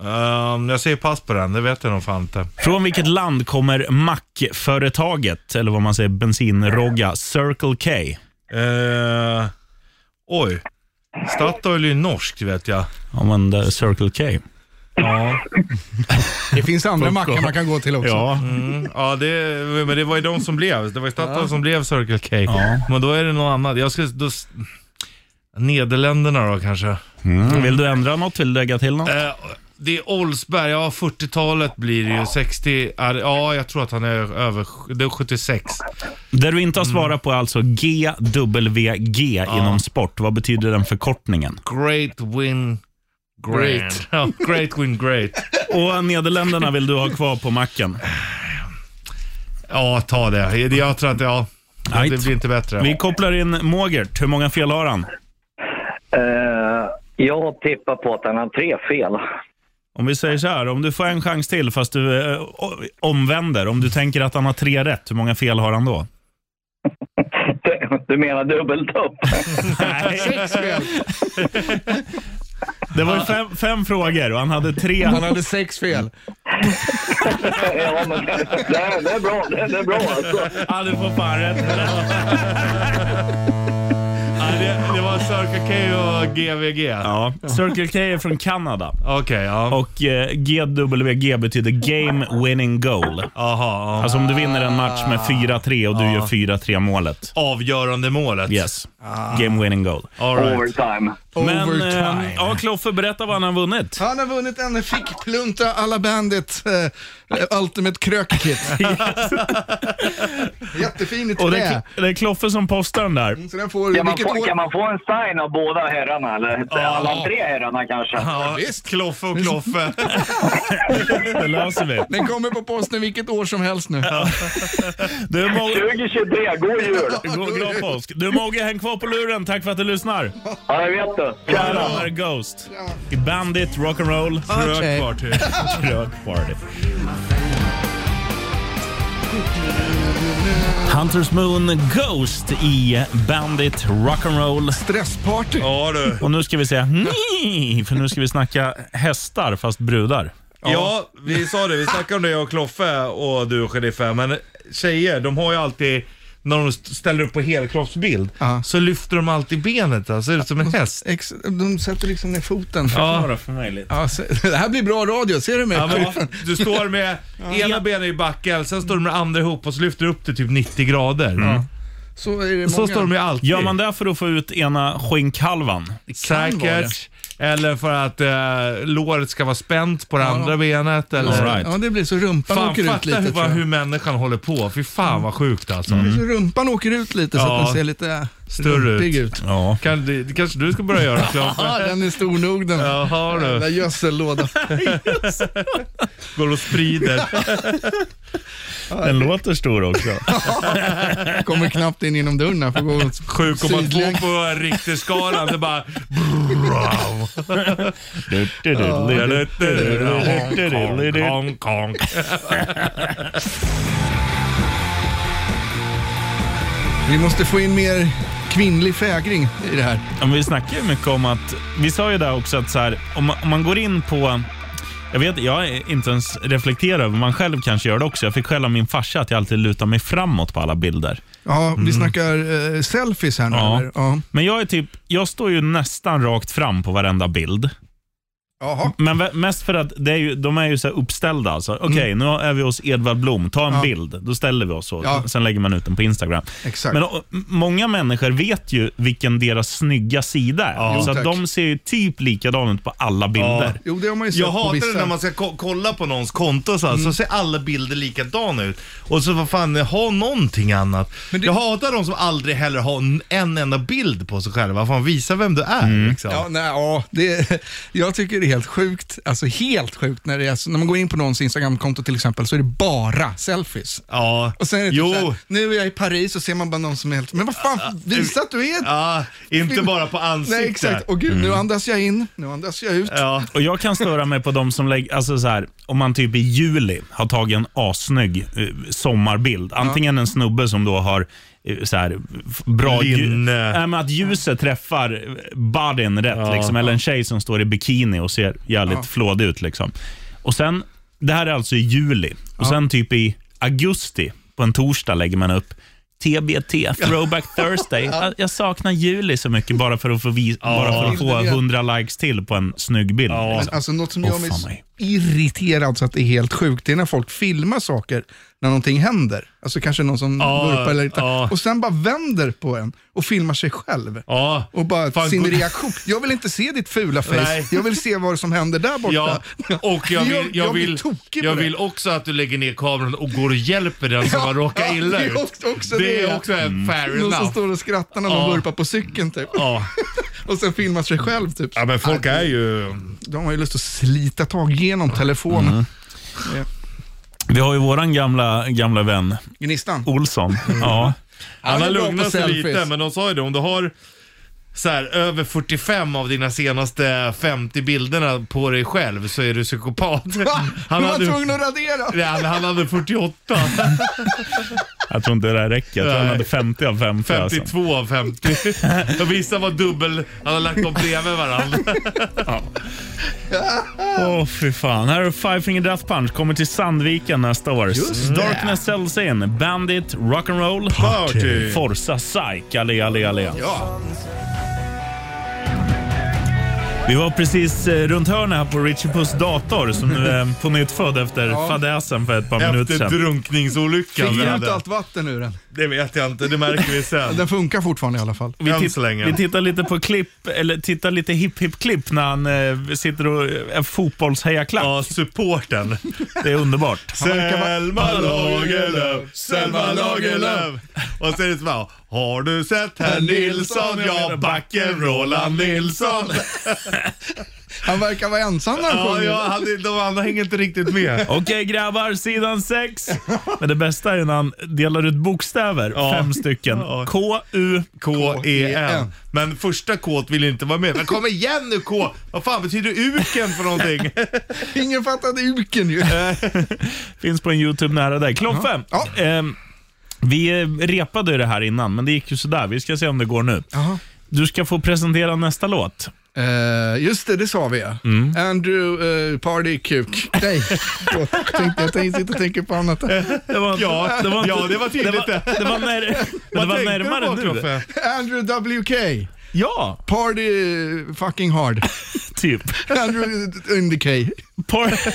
S5: Ehm, jag säger pass på den, det vet jag nog fan inte.
S3: Från vilket land kommer mackföretaget, eller vad man säger, bensinrogga, Circle K?
S5: Eh, oj. Statoil är ju norskt vet jag.
S3: Använda Circle K.
S2: Det finns andra mackar man kan gå till också.
S3: Ja,
S5: Mm, ja, det, men det var ju de som blev. Det var ju Statoil som blev Circle K. Men då är det någon annan. Jag skulle... Då, s- Nederländerna då kanske.
S3: Mm. Vill du ändra något? Vill du lägga till något?
S5: Eh, det är Olsberg, ja 40-talet blir det ju. 60, är, ja jag tror att han är över, det är 76.
S3: Det du inte har svarat på är alltså GWG inom sport. Vad betyder den förkortningen?
S5: Great win, great. Ja, great win, great.
S3: Och Nederländerna vill du ha kvar på macken.
S5: Ja, ta det. Jag tror att, ja.
S3: Right.
S5: Det blir inte
S3: Vi
S5: bättre.
S3: kopplar in Mogert. Hur många fel har han?
S6: Eh, jag tippar på att han har tre fel.
S3: Om vi säger så här, om du får en chans till fast du eh, o- omvänder. Om du tänker att han har tre rätt, hur många fel har han då?
S6: Du menar dubbelt upp?
S2: Sex fel.
S3: Det var ju fem, fem frågor och han hade tre.
S2: Han hade sex fel.
S6: ja, men det, det, det är bra. Det, det är bra alltså.
S3: Ja, du får fan rätt.
S5: Ja, det, det var Circle K och GVG.
S3: Ja. Circle K är från Kanada
S5: Okej, ja.
S3: och eh, GWG betyder Game Winning Goal.
S5: Aha, ja.
S3: Alltså om du vinner en match med 4-3 och du gör 4-3 målet.
S5: Avgörande målet.
S3: Yes.
S5: Ah.
S3: Game winning goal.
S5: All right.
S6: Overtime.
S3: Men,
S2: Overtime.
S3: eh, ja, Kloffe, berätta vad han har vunnit.
S2: Han har vunnit en fickplunta alla bandit eh, Ultimate Krök-kit. Jättefin i
S3: Och det, är
S2: trä.
S3: Kl- det är Kloffe som postar den där.
S2: Så den får,
S6: Kan man,
S2: vilket
S6: få,
S2: år?
S6: kan man få en sign av båda herrarna? Eller alla tre herrarna kanske?
S5: Ja, Kloffe och Kloffe.
S3: Det löser vi.
S2: Den kommer på posten vilket år som helst nu.
S3: Du, Mo-
S6: 2023, god jul!
S3: God- glad påsk. Du Mogge, häng kvar på luren. Tack för att du lyssnar.
S6: Ja, det vet du.
S3: Här är Ghost. I Bandit, rock'n'roll,
S2: Okej.
S3: krökparty. Krökparty. Hunters Moon Ghost i Bandit Rock'n'roll.
S2: Stressparty.
S5: Ja du.
S3: Och nu ska vi säga nej, för nu ska vi snacka hästar fast brudar.
S5: Ja, vi sa det. Vi snackade om det, jag och Kloffe och du och Jennifer. Men tjejer, de har ju alltid, när de st- ställer upp på helkroppsbild,
S2: Ja.
S5: så lyfter de alltid benet. Alltså, ser ut som en häst.
S2: Ex- de sätter liksom ner foten.
S3: Ja. för mig lite.
S2: Ja, se- det här blir bra radio, ser du mig?
S5: Ja, men du står med ena benet i backen, sen står du med andra ihop och så lyfter du upp det typ 90 grader.
S2: Så är det många.
S5: Så står de ju alltid.
S3: Mm. Gör man det för att få ut ena skinkhalvan?
S2: vara
S5: Säkert. Eller för att eh, låret ska vara spänt på det andra benet. Eller...
S3: All right.
S2: Ja, det blir så rumpan
S5: Fan,
S2: åker ut
S5: fatta
S2: lite.
S5: hur,
S2: tror
S5: bara
S2: jag.
S5: hur människan håller på. Fy fan vad sjukt alltså.
S3: Mm.
S2: Så rumpan åker ut lite så
S5: Ja.
S2: att den ser lite
S5: Större ut.
S2: rumpig ut.
S3: Ja.
S5: Kan, det, det kanske du ska börja göra
S2: Ja,
S5: Kloffe?
S2: den är stor nog den.
S5: Jaha
S2: Den där
S5: du.
S2: gödsellådan.
S5: Går och sprider.
S3: Den låter stor också.
S2: Kommer knappt in genom dörren här. Får gå åt
S5: 7,2
S2: sidlänges.
S5: på Richterskalan. Det bara... Honk, honk.
S2: Vi måste få in mer kvinnlig fägring i det här.
S3: Ja, men vi snackar ju mycket om att, vi sa ju där också att så här, om, man, om man går in på, jag vet jag är inte ens reflekterar över, man själv kanske gör det också. Jag fick skäll av min farsa att jag alltid lutar mig framåt på alla bilder.
S2: Ja,
S5: Mm.
S2: vi snackar eh, selfies här nu.
S3: Ja.
S2: eller? Ja.
S3: Men jag är typ, jag står ju nästan rakt fram på varenda bild.
S5: Mm.
S2: Jaha.
S3: Men vä- mest för att det är ju, de är ju så här uppställda. Alltså. Okej, nu är vi hos Edvard Blom. Ta en
S2: Mm. Ja.
S3: bild. Då ställer vi oss så.
S2: Ja.
S3: Sen lägger man ut den på Instagram.
S2: Exakt.
S3: Men och, m- många människor vet ju vilken deras snygga sida är.
S2: Jo,
S3: Så
S2: tack.
S3: att de ser ju typ likadana ut på alla bilder.
S2: Jo, det har man ju sett
S5: Jag
S2: på
S5: hatar
S2: vissa.
S5: det när man ska ko- kolla på någons konto så, här,
S2: Mm.
S5: så ser alla bilder likadana ut. Och så vad fan, ha någonting annat.
S2: Men det-
S5: Jag hatar de som aldrig heller har n- en enda bild på sig själva. Fan, visa vem du är
S3: Mm.
S5: liksom.
S2: Ja, nej, ja, det, jag tycker det är helt sjukt, alltså helt sjukt när, det är, så- när man går in på någons Instagramkonto till exempel så är det bara selfies.
S5: Ja.
S2: Och sen är det typ
S5: jo. Ah,
S2: så här, nu är jag i Paris och ser man bara någon som är helt, men vad fan, visa att du är
S5: Ja, inte bara på ansiktet.
S2: Nej exakt, och gud nu
S5: Mm.
S2: andas jag in, nu andas jag ut.
S5: Ja.
S3: Och Jag kan störa mig på de som lägger, alltså så här, om man typ i juli har tagit en assnygg eh, sommarbild. Antingen en snubbe som då har eh, så här, f- bra
S5: Linne.
S3: Nej, men att ljuset träffar eh, bodyn rätt, liksom, eller en tjej som står i bikini och ser jävligt flådig ut. Liksom. Och sen, det här är alltså i juli, och sen typ i augusti, på en torsdag lägger man upp TBT, Throwback Thursday. Jag- Jag saknar Juli så mycket bara för att få, vis- bara för att få
S2: Just det.
S3: 100 likes till på en snygg bild.
S2: Men
S3: liksom.
S2: Alltså något som
S3: Åh,
S2: gör mig
S3: fan
S2: så
S3: mig.
S2: irriterad så att det är helt sjukt, det är när folk filmar saker när någonting händer. Alltså kanske någon som burpar eller lite.
S5: ja.
S2: Och sen bara vänder på en och filmar sig själv.
S5: Ja.
S2: Och bara
S5: Fan,
S2: sin
S5: gå-
S2: reaktion. Jag vill inte se ditt fula face.
S5: Nej.
S2: Jag vill se vad som händer där borta.
S5: Ja, och jag
S2: Jag-
S5: vill, jag
S2: jag blir
S5: vill,
S2: tokig på
S5: jag
S2: det.
S5: vill också att du lägger ner kameran och går och hjälper den som
S2: Ja,
S5: har råkat
S2: ja,
S5: illa
S2: det
S5: ut.
S2: är också- också
S5: det
S2: det.
S5: är också en fair
S2: Någon som
S5: enough.
S2: står och skrattar när de
S5: Ja.
S2: burpar på cykeln typ.
S5: Ja.
S2: Och sen filmar sig själv typ.
S5: ja, men folk är ju...
S2: De har ju lust att slita tag genom telefonen.
S5: Mm.
S3: Vi har ju våran gamla, gamla vän
S2: Gnistan.
S3: Olsson.
S5: Mm.
S3: Ja.
S5: Han har
S2: är bra på
S5: lugnat sig
S2: selfies.
S5: lite, men de sa ju det, om du har så här, över 45 av dina senaste 50 bilderna på dig själv så är du psykopat.
S2: Han var
S5: hade,
S2: tvungen att radera.
S5: Nej, men han hade 48.
S3: Jag tror inte det där räcker. Jag tror han
S5: Nej.
S3: hade 50 av 50. Alltså.
S5: 52 av 50. Och vissa var dubbel, han hade lagt dem bredvid varandra.
S3: Åh, fy fan. Här är Five Finger Death Punch. Kommer till Sandviken nästa år. Darkness sells in. Bandit, Rock'n'Roll,
S5: Party.
S3: Forza, Psych. Allé, allé, allé. Vi var precis eh, runt hörnet här på Richie Puss dator som nu är på nytt född efter fadäsen för ett par minuter
S5: Efter
S3: sedan.
S5: drunkningsolyckan.
S2: Fick
S5: vi
S2: du
S5: hade.
S2: ut allt vatten ur den?
S5: Det vet jag inte, det märker vi sen.
S2: Den funkar fortfarande i alla fall.
S5: Än
S3: titt-
S5: så länge.
S3: vi tittar lite på klipp, eller tittar lite hipp-hipp-klipp när han eh, sitter och är fotbollshejaklack.
S5: Ja, supporten.
S3: Det är underbart.
S5: Selma Lagerlöf, Selma Lagerlöf. Och så är det så bara, har du sett herr Nilsson? Ja, backen Roland Nilsson.
S2: Han verkar vara ensam när han
S5: Ja,
S2: sjunger.
S5: ja, han, de andra hänger inte riktigt med.
S3: Okej grabbar, sidan sex. Men det bästa är när han delar ut bokstäver, fem stycken. K, U,
S5: K-E-N. E Men första K vill inte vara med. Men kom igen nu K! Vad fan betyder uken för någonting?
S2: Ingen fattade uken ju.
S3: finns på en YouTube nära dig. Kloffe,
S2: Ja.
S3: ehm, vi eh, repade ju det här innan, men det gick ju sådär. Vi ska se om det går nu.
S2: Jaha.
S3: Du ska få presentera nästa låt.
S2: Eh, just det, det sa vi ja.
S5: Mm.
S2: Andrew uh, Party Kuk. Nej, Förlåt, jag tänkte, jag tänkte sitta och tänka på annat.
S3: Det var,
S5: Ja,
S3: det var, inte-
S5: ja, det var tydligt
S3: det. Var, det var, när, det var
S5: tänkte du på,
S3: närmare nu.
S5: Kloffe?
S2: Andrew WK.
S3: Ja,
S2: Party fucking hard.
S3: typ.
S2: Andrew in the K.
S3: Por-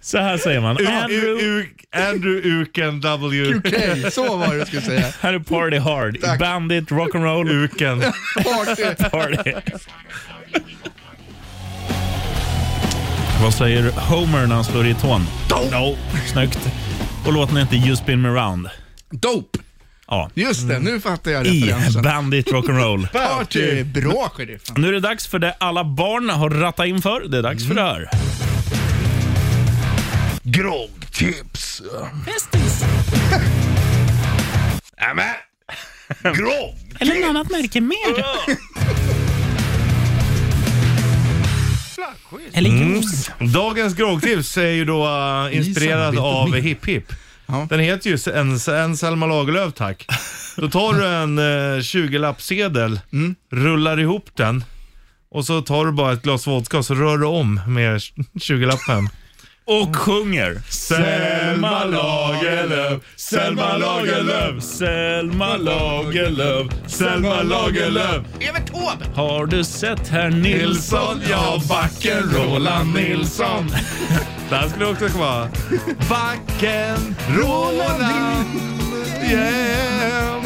S3: Så här säger man.
S5: U-
S3: Andrew,
S5: U- U- Andrew Uken W.
S2: UK, så var det jag skulle säga.
S3: här är Party Hard.
S2: Tack.
S3: Bandit, rock'n'roll,
S5: Uken.
S2: Party.
S3: Party. Vad säger Homer när han slår i tån? No. Snyggt. Och låten heter You spin me round.
S2: Dope.
S3: Ja.
S2: Just
S5: Mm.
S2: det, nu fattar jag
S3: I
S2: referensen.
S3: Bandit Rock'n'Roll.
S2: Party. Bra sheriffen.
S3: Nu är det dags för det alla barn har rattat in för. Det är dags för det här.
S1: Groggtips. Nämen! Grogg!
S3: Eller något annat märke mer. Eller juice.
S5: Dagens groggtips är ju då eh, inspirerad
S2: samarbete
S5: av
S2: med-
S5: Hipp Hipp.
S2: Ja.
S5: Den heter ju en, en Selma Lagerlöf tack. Då tar du en eh, 20-lappsedel,
S2: Mm.
S5: rullar ihop den och så tar du bara ett glas vodka och så rör du om med 20-lappen.
S3: Och sjunger.
S5: Selma Lagerlöf, Selma Lagerlöf,
S3: Selma Lagerlöf,
S5: Selma Lagerlöf,
S3: Har du sett herr Nilsson?
S5: Nilsson, ja backen Roland Nilsson. Där skulle det också kunna vara. Backen Roland, yeah.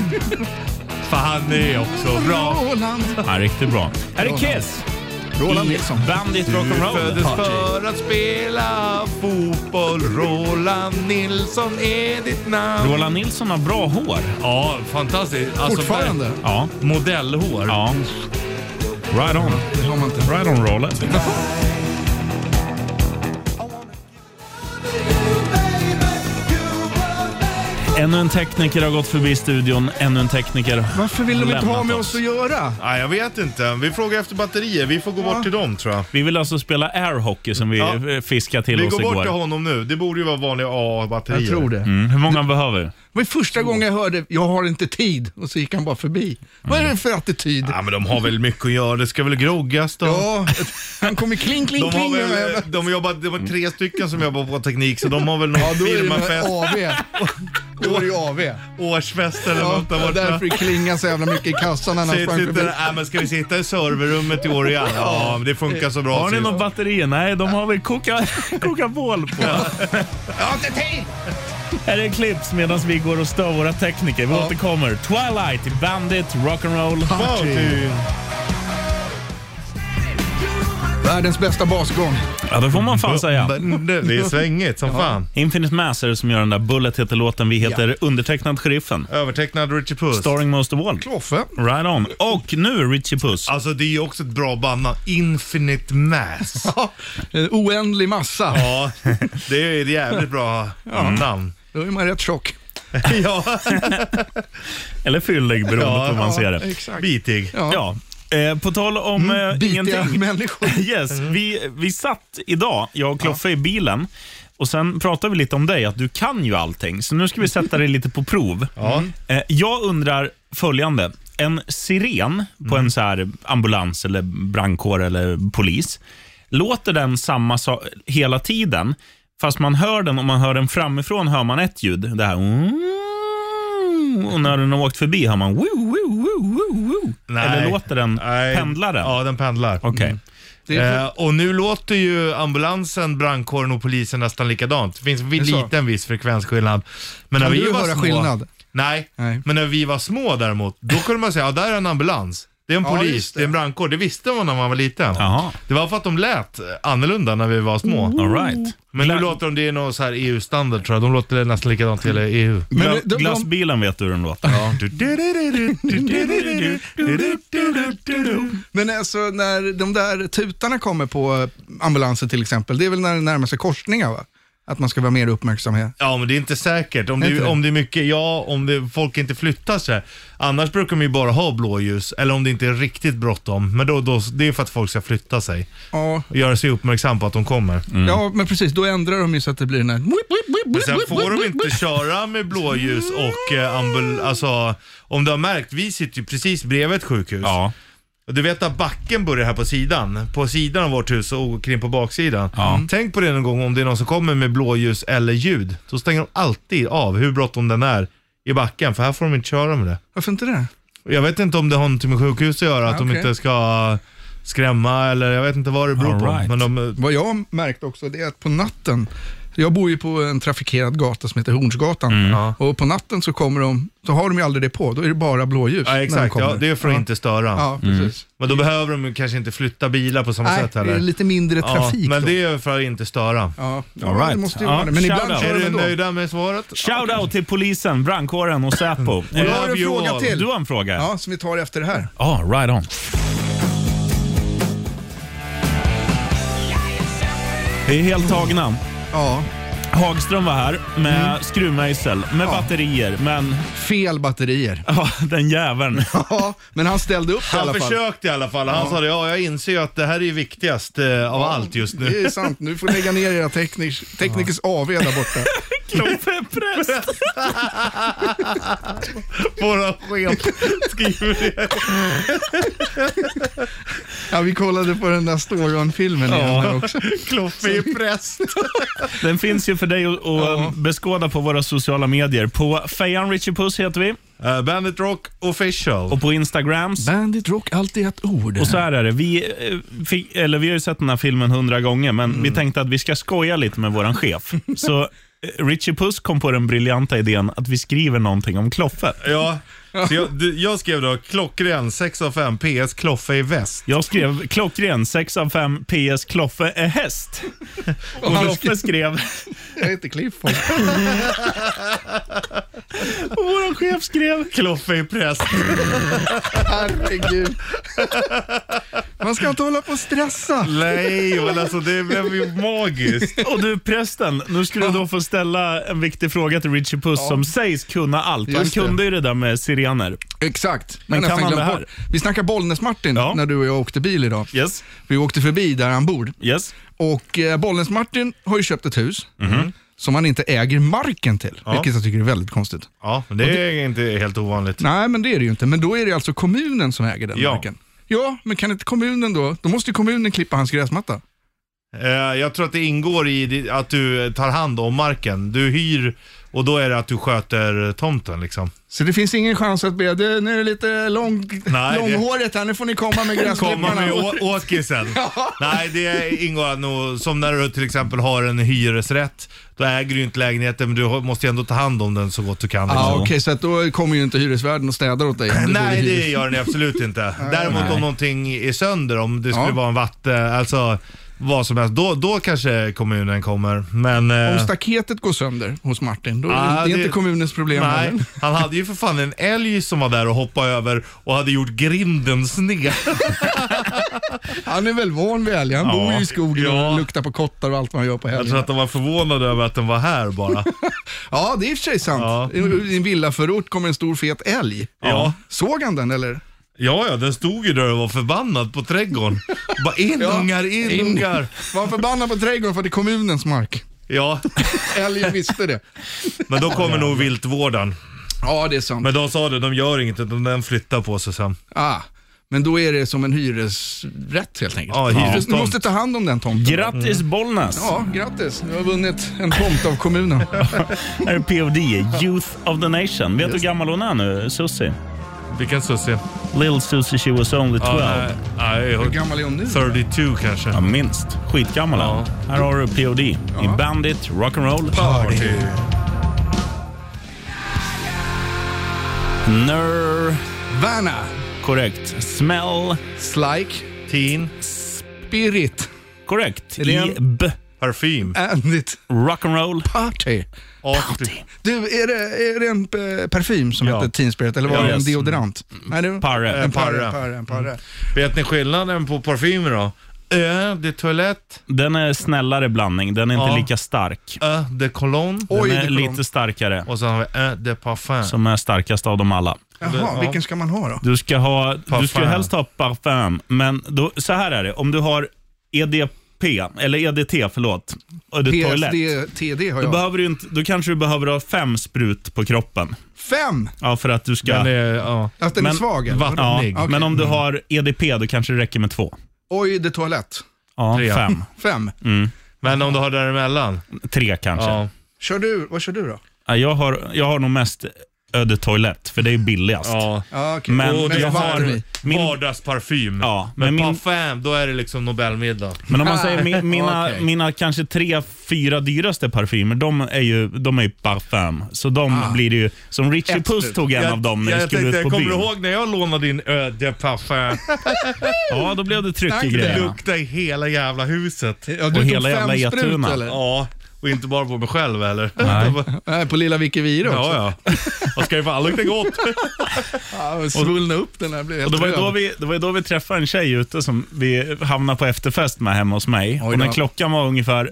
S5: För han är också bra.
S2: Roland.
S5: Alltså,
S3: Ja, riktigt bra. Här är Kiss.
S2: Roland
S3: I
S2: Nilsson.
S3: Bandit
S5: Du föddes
S3: Rock'n'Roll.
S5: för att spela fotboll. Roland Nilsson är ditt namn.
S3: Roland Nilsson har bra hår.
S5: Ja, fantastiskt. Alltså,
S2: Fortfarande.
S3: Ja.
S5: Modellhår.
S3: ja. Right on.
S2: Det har man inte.
S3: Right on rollen. Ännu en tekniker har gått förbi studion. Ännu en tekniker.
S2: Varför vill de inte ha
S3: lämnat
S2: med oss att göra?
S5: Nej, jag vet inte. Vi frågar efter batterier. Vi får gå bort till dem tror jag.
S3: Vi vill alltså spela airhockey som vi
S5: Ja.
S3: eh, fiskade till
S5: Vi
S3: oss
S5: går bort till
S3: igår.
S5: honom nu. Det borde ju vara vanliga A-batterier.
S2: Jag tror det.
S3: Mm. Hur många behöver vi?
S2: Det var första gången jag hörde “jag har inte tid” och så gick han bara förbi. Vad är det för attityd?
S5: Ja, men de har väl mycket att göra. Det ska väl groggas då.
S2: Ja, han kommer kling, kling,
S5: De har
S2: kling. med
S5: väl, eh,
S2: mig.
S5: de jobbar, det var tre stycken som jobbar på teknik, så de har väl någon
S2: Ja, då är det med
S5: firmafest,
S2: AV. Då är det ju AV.
S5: årsfest eller
S2: Ja,
S5: något där
S2: ja,
S5: borta.
S2: därför det klingar så jävla mycket i kassan när han
S5: Säger
S2: sprang
S5: till
S2: förbi.
S5: den, "Äh, men ska vi sitta i serverrummet i år igen? Ja, men det funkar så bra.
S3: Har ni
S5: sist."
S3: något batteri? Nej, de har väl koka, koka bål på. Här är clips medan vi går och stör våra tekniker. Vi återkommer. Twilight, Bandit, Rock'n'Roll.
S2: Världens bästa basgång.
S3: Ja, det får man fan säga.
S5: Men det- Det är svängigt som fan.
S3: Infinite Mass är det som gör den där Bullet heter låten. Vi heter undertecknad sheriffen.
S5: Övertecknad Richie Puss.
S3: Starring Most of All.
S2: Kloffe.
S3: Right on. Och nu Richie Puss.
S5: Alltså det är ju också ett bra bandnamn. Infinite Mass.
S2: Ja, en oändlig massa.
S5: Ja, det är ett jävligt bra namn.
S2: Då är man rätt tjock.
S5: Ja,
S3: Eller fyllig beroende
S5: Ja,
S3: på hur man
S5: ja,
S3: ser det.
S2: Exakt.
S5: bitig.
S3: Ja. Eh, på tal om
S2: Mm,
S3: eh,
S2: Bitiga
S3: ingenting.
S2: människor.
S3: Yes,
S5: Mm.
S3: vi, vi satt idag, jag och Kloffe, i bilen och sen pratade vi lite om dig, att du kan ju allting. Så nu ska vi sätta dig lite på prov. Eh, Jag undrar följande. En siren på
S5: Mm.
S3: en så här ambulans, eller brandkår eller polis, låter den samma sak hela tiden? Fast man hör den, om man hör den framifrån hör man ett ljud. Det här... Och när den har åkt förbi hör man... Woo, woo, woo, woo, woo.
S5: Nej.
S3: Eller låter den...
S5: Nej.
S3: Pendlar den?
S5: Ja, den pendlar.
S3: Okej.
S2: Det är
S5: Eh, och nu låter ju ambulansen, brandkåren och polisen nästan likadant. Det finns en
S2: är så.
S5: liten viss frekvensskillnad. Men
S2: Kan
S5: när vi
S2: du
S5: var
S2: höra
S5: små,
S2: skillnad?
S5: Nej,
S2: Nej.
S5: men när vi var små däremot, då kunde man säga att ja, där är en ambulans. Det är en
S2: Ja,
S5: polis,
S2: just
S5: det.
S2: det.
S5: är en brandkår. Det visste man när man var liten.
S3: Jaha.
S5: Det var för att de lät eh, annorlunda när vi var små.
S3: All right.
S5: Men nu låter de, det är någon så här EU-standard tror jag. De låter nästan likadant E i hela EU.
S2: Men
S3: Gla-
S2: de- de-
S3: glassbilen vet du hur den låter.
S2: Men alltså när de där tutarna kommer på eh, ambulansen till exempel, det är väl när det närmar sig korsningar va? Att man ska vara mer uppmärksam här.
S5: Ja, men det är inte säkert. Om det,
S2: Är inte det?
S5: om det är mycket, ja, om det, folk inte flyttar sig. Annars brukar de ju bara ha blåljus, eller om det inte är riktigt bråttom. Men då, då, det är för att folk ska flytta sig
S2: Ja,
S5: och göra sig uppmärksam på att de kommer.
S2: ja, men precis. Då ändrar de ju så att det blir den här...
S5: Mm. Men sen får de inte köra med blåljus och eh, ambul... Alltså, om du har märkt, vi sitter ju precis bredvid ett sjukhus.
S3: Ja.
S5: Och Du vet att backen börjar här på sidan, på sidan av vårt hus och åker in på baksidan. Mm. Tänk på det någon gång om det är någon som kommer med blåljus eller ljud. Då stänger de alltid av hur bråttom den är i backen, för här får de inte köra med det.
S2: Varför inte det?
S5: Och Jag vet inte om det har något med sjukhus att göra, att de
S2: Okej.
S5: inte ska skrämma eller jag vet inte vad det beror
S3: All
S5: på.
S3: right.
S5: Men de,
S2: Vad jag har märkt också, det är att på natten, jag bor ju på en trafikerad gata som heter Hornsgatan.
S5: Ja.
S2: Och på natten så kommer de, så har de ju aldrig det på, då är det bara blåljus.
S5: ja,
S2: när de
S5: exakt,
S2: kommer.
S5: ja, det är Mm. för att inte störa.
S2: Ja, precis.
S5: Men då behöver de ju kanske inte flytta bilar på samma
S2: Nej,
S5: sätt
S2: det är
S5: heller.
S2: lite mindre trafik
S5: ja, men
S2: då.
S5: det är för att inte störa.
S2: Ja,
S3: All
S2: ja,
S3: right.
S2: det måste ju
S3: Ja,
S2: vara det. Men
S3: shout
S2: ibland
S3: out.
S2: kör
S5: Är
S2: de
S5: du
S2: ändå.
S5: nöjda med svaret?
S3: Shoutout till polisen, brandkåren och Säpo. Eh,
S2: Jag har en
S5: Love you
S2: fråga
S5: all.
S2: till.
S3: Du har en fråga?
S2: Ja, som vi tar efter det här.
S3: Ja, right on. Vi är helt tagna.
S2: Ja,
S3: Hagström var här med
S2: Mm.
S3: skruvmejsel, med batterier, men
S2: fel batterier.
S3: ja, den jäveln.
S2: Ja, men han ställde upp i
S5: Han
S2: alla fall.
S5: försökte i alla fall. Han sa det, ja jag inser ju att det här är ju viktigast eh, av allt just
S2: Det
S5: nu.
S2: är sant. Nu får ni lägga ner era teknikers, teknikers AV där borta.
S3: Kloffe är präst.
S5: Våra chef skriver det.
S2: Ja, vi kollade på den där Storon-filmen igen här också.
S5: Kloffe är präst.
S3: Den finns ju för dig att att beskåda på våra sociala medier. På Fejan Richie Puss heter vi
S5: Eh, Bandit Rock official.
S3: och på Instagrams.
S2: Bandit Rock, alltid ett ord.
S3: Och så här är det. Vi, eh, fick, eller vi har ju sett den här filmen hundra gånger, men
S5: Mm.
S3: vi tänkte att vi ska skoja lite med vår chef. Så eh, Richie Puss kom på den briljanta idén att vi skriver någonting om Kloffe.
S5: Ja, så jag, du, jag skrev då klockren 6 av 5 PS Kloffe i väst.
S3: Jag skrev klockren 6 av 5 PS Kloffe är häst. Och
S2: han
S3: Kloffe skrev,
S2: Jag heter Cliff.
S3: och vår chef skrev
S5: Kloffe är präst.
S2: Herregud. Man ska inte hålla på och stressa.
S5: Nej, men alltså det blev ju magiskt.
S3: och du prästen, nu skulle du då få ställa en viktig fråga till Richie Puss som sägs kunna allt. Han
S2: Just det.
S3: kunde ju det där med sirener.
S2: Exakt.
S3: Men
S2: Jag har
S3: kan
S2: nästan
S3: han
S2: glömt
S3: det
S2: bort. Vi snackar Bollnäs-Martin
S3: Ja.
S2: när du och jag åkte bil idag.
S3: Yes,
S2: Vi åkte förbi där han bor.
S3: yes. Mhm.
S2: Och eh, Bollnäs-Martin har ju köpt ett hus. som man inte äger marken till, vilket jag tycker är väldigt konstigt.
S5: Ja, men det är inte helt ovanligt.
S2: Nej, men det är det ju inte. Men då är det alltså kommunen som äger den
S5: Ja.
S2: marken. Ja, men kan inte kommunen då, då måste ju kommunen klippa hans gräsmatta.
S5: Eh, Jag tror att det ingår i di- att du tar hand om marken. Du hyr och då är det att du sköter tomten liksom.
S2: Så det finns ingen chans att be, du, nu är det lite lång,
S5: det-
S2: långhåret här, nu får ni komma med
S5: Komma
S2: gräsklipparna.
S5: med å- åkisen. Nej, det ingår nog som när du till exempel har en hyresrätt. Då äger du ju inte lägenheten men du har- måste ju ändå ta hand om den så gott du kan.
S2: Ja,
S5: liksom.
S2: Ah, okej, så att då kommer ju inte hyresvärden och städar åt dig. om du bor i
S5: Nej,
S2: hyres-
S5: det gör den absolut inte. Däremot om någonting är sönder, om det skulle
S2: Ja.
S5: vara en vatten, alltså vad som helst, då, då kanske kommunen kommer. Men... eh,
S2: Om staketet går sönder hos Martin, då är
S5: Ah,
S2: det, det är
S5: det-
S2: inte kommunens problem
S5: Nej,
S2: heller.
S5: han hade ju för fan en älg som var där och hoppade över och hade gjort grinden sned.
S2: Han är väl van vid älg, han
S5: Ja.
S2: bor ju i skogen
S5: Ja. Alltså-
S2: och luktar på kottar och allt man gör på
S5: Jag tror
S2: helgen.
S5: att de var förvånade över att den var här bara.
S2: Ja, det är i och för sig sant.
S5: Ja.
S2: I i en villaförort kommer en stor fet älg.
S5: Ja.
S2: Såg han den eller?
S5: Ja, ja, den stod ju där och var förbannad på trädgården. Bara in
S2: Ja.
S5: ungar, in,
S2: In.
S5: ungar.
S2: Var han förbannad på trädgården för att det är kommunens mark?
S5: Ja,
S2: Älgen visste det.
S5: men då kommer nog viltvården.
S2: Ja, det är sant.
S5: Men de sa det, de gör inget utan den flyttar på sig sen.
S2: Ah, men då är det som en hyresrätt helt enkelt.
S5: Ja,
S2: Hyres-
S5: hyrestomt.
S2: Du måste ta hand om den tomten.
S3: Grattis Bollnäs!
S2: Ja, grattis. Du har vunnit en tomt av kommunen.
S3: Här är POD, Youth of the Nation. Vet du hur gammal hon är nu, Susie?
S5: Vilken sussie.
S3: Little Susie, she was only 12.
S5: Ja, nej,
S2: Hur
S5: nej,
S2: gammal är hon nu?
S5: 32
S3: Ja,
S5: kanske.
S3: minst. Skitgammal ja. Här har du POD i Bandit Rock'n'Roll. Party. Ner,
S2: Vanna.
S3: korrekt. Smell,
S2: Slike.
S5: Teen.
S2: Spirit.
S3: korrekt.
S2: Är det en-
S3: IB,
S5: Parfym.
S2: And it
S3: Rock'n'Roll.
S2: party.
S5: Party.
S2: Du, är det, är det en eh, parfym som
S3: Ja.
S2: heter Teen Spirit eller var
S3: Ja,
S2: det en
S3: yes. Mm.
S2: deodorant? Nej, det var-
S3: Parre. Mm.
S2: En parre.
S5: Parre.
S2: parre, en parre.
S5: Vet ni skillnaden på parfymer då? Ö de toilette,
S3: Den är snällare blandning. Den är inte
S5: Ja.
S3: lika stark.
S5: ö de cologne
S3: Den
S2: Oj, det
S3: är
S2: kom.
S3: lite starkare.
S5: och sen har vi ö de parfum.
S3: Som är starkast av dem alla.
S2: Jaha,
S5: Ja.
S2: vilken ska man ha då?
S3: Du ska, ha, du ska ju
S5: Parfum.
S3: helst ha parfym, men då, så här är det. Om du har EDP, eller EDT, förlåt, och det är toalett,
S2: PSD, TD har
S3: då,
S2: jag.
S3: behöver du inte, då kanske du behöver ha fem sprut på kroppen.
S2: Fem!
S3: Ja, för att du ska...
S5: Den är, eh, ja.
S2: Att eh, den är
S3: Men
S2: svag eller? Mm.
S3: ja,
S5: vattnig.
S2: Okej.
S3: Men om du har EDP, då kanske det räcker med två.
S2: Oj, det toalett.
S3: Ja,
S5: Tre.
S3: fem.
S2: Fem.
S3: Mm.
S5: Men om du har däremellan?
S3: Tre kanske. Ja.
S5: Ja.
S2: Kör du, vad kör du då?
S3: jag, har, jag har nog mest öde toilett, för det är ju billigast. Ja.
S5: ja.
S2: Ja, okej.
S3: Men-
S5: Och
S2: Mest
S5: du
S2: vatten i.
S5: har
S3: Min-
S5: vardagsparfym.
S3: Ja, men
S5: men
S3: min-
S5: parfym, då är det liksom Nobelmiddag.
S3: Men om man
S5: Ah.
S3: säger mi, mina,
S2: Okej.
S3: mina kanske tre, fyra dyraste parfymer, de är ju, de är ju parfym. Så de blir det ju, som Richie Puss tog en av dem när vi
S5: Ah. jag
S3: skulle
S5: tänkte,
S3: ut på
S5: kommer
S3: byn.
S5: du ihåg när jag lånade din ö de parfum?
S3: Ja, då blev det tryck i
S2: Tack, det
S5: Det
S3: grejerna.
S5: luktade i hela jävla huset.
S2: Ja, du
S3: Och
S2: tog
S3: hela
S2: fem
S3: jävla E
S2: sprut,
S3: Getuna.
S2: eller?
S5: Ja, och inte bara på mig själv eller?
S2: Nej, på lilla Vicky Vire också.
S5: Ja, ja. Vad ska ju fan lukta gott.
S2: Ja, och svullna upp den här blev helt
S3: Och det, var ju
S2: röd.
S3: då vi, det var ju då vi träffade en tjej ute som vi hamnade på efterfest med hemma hos mig.
S2: Oj
S3: och när
S2: då.
S3: klockan var ungefär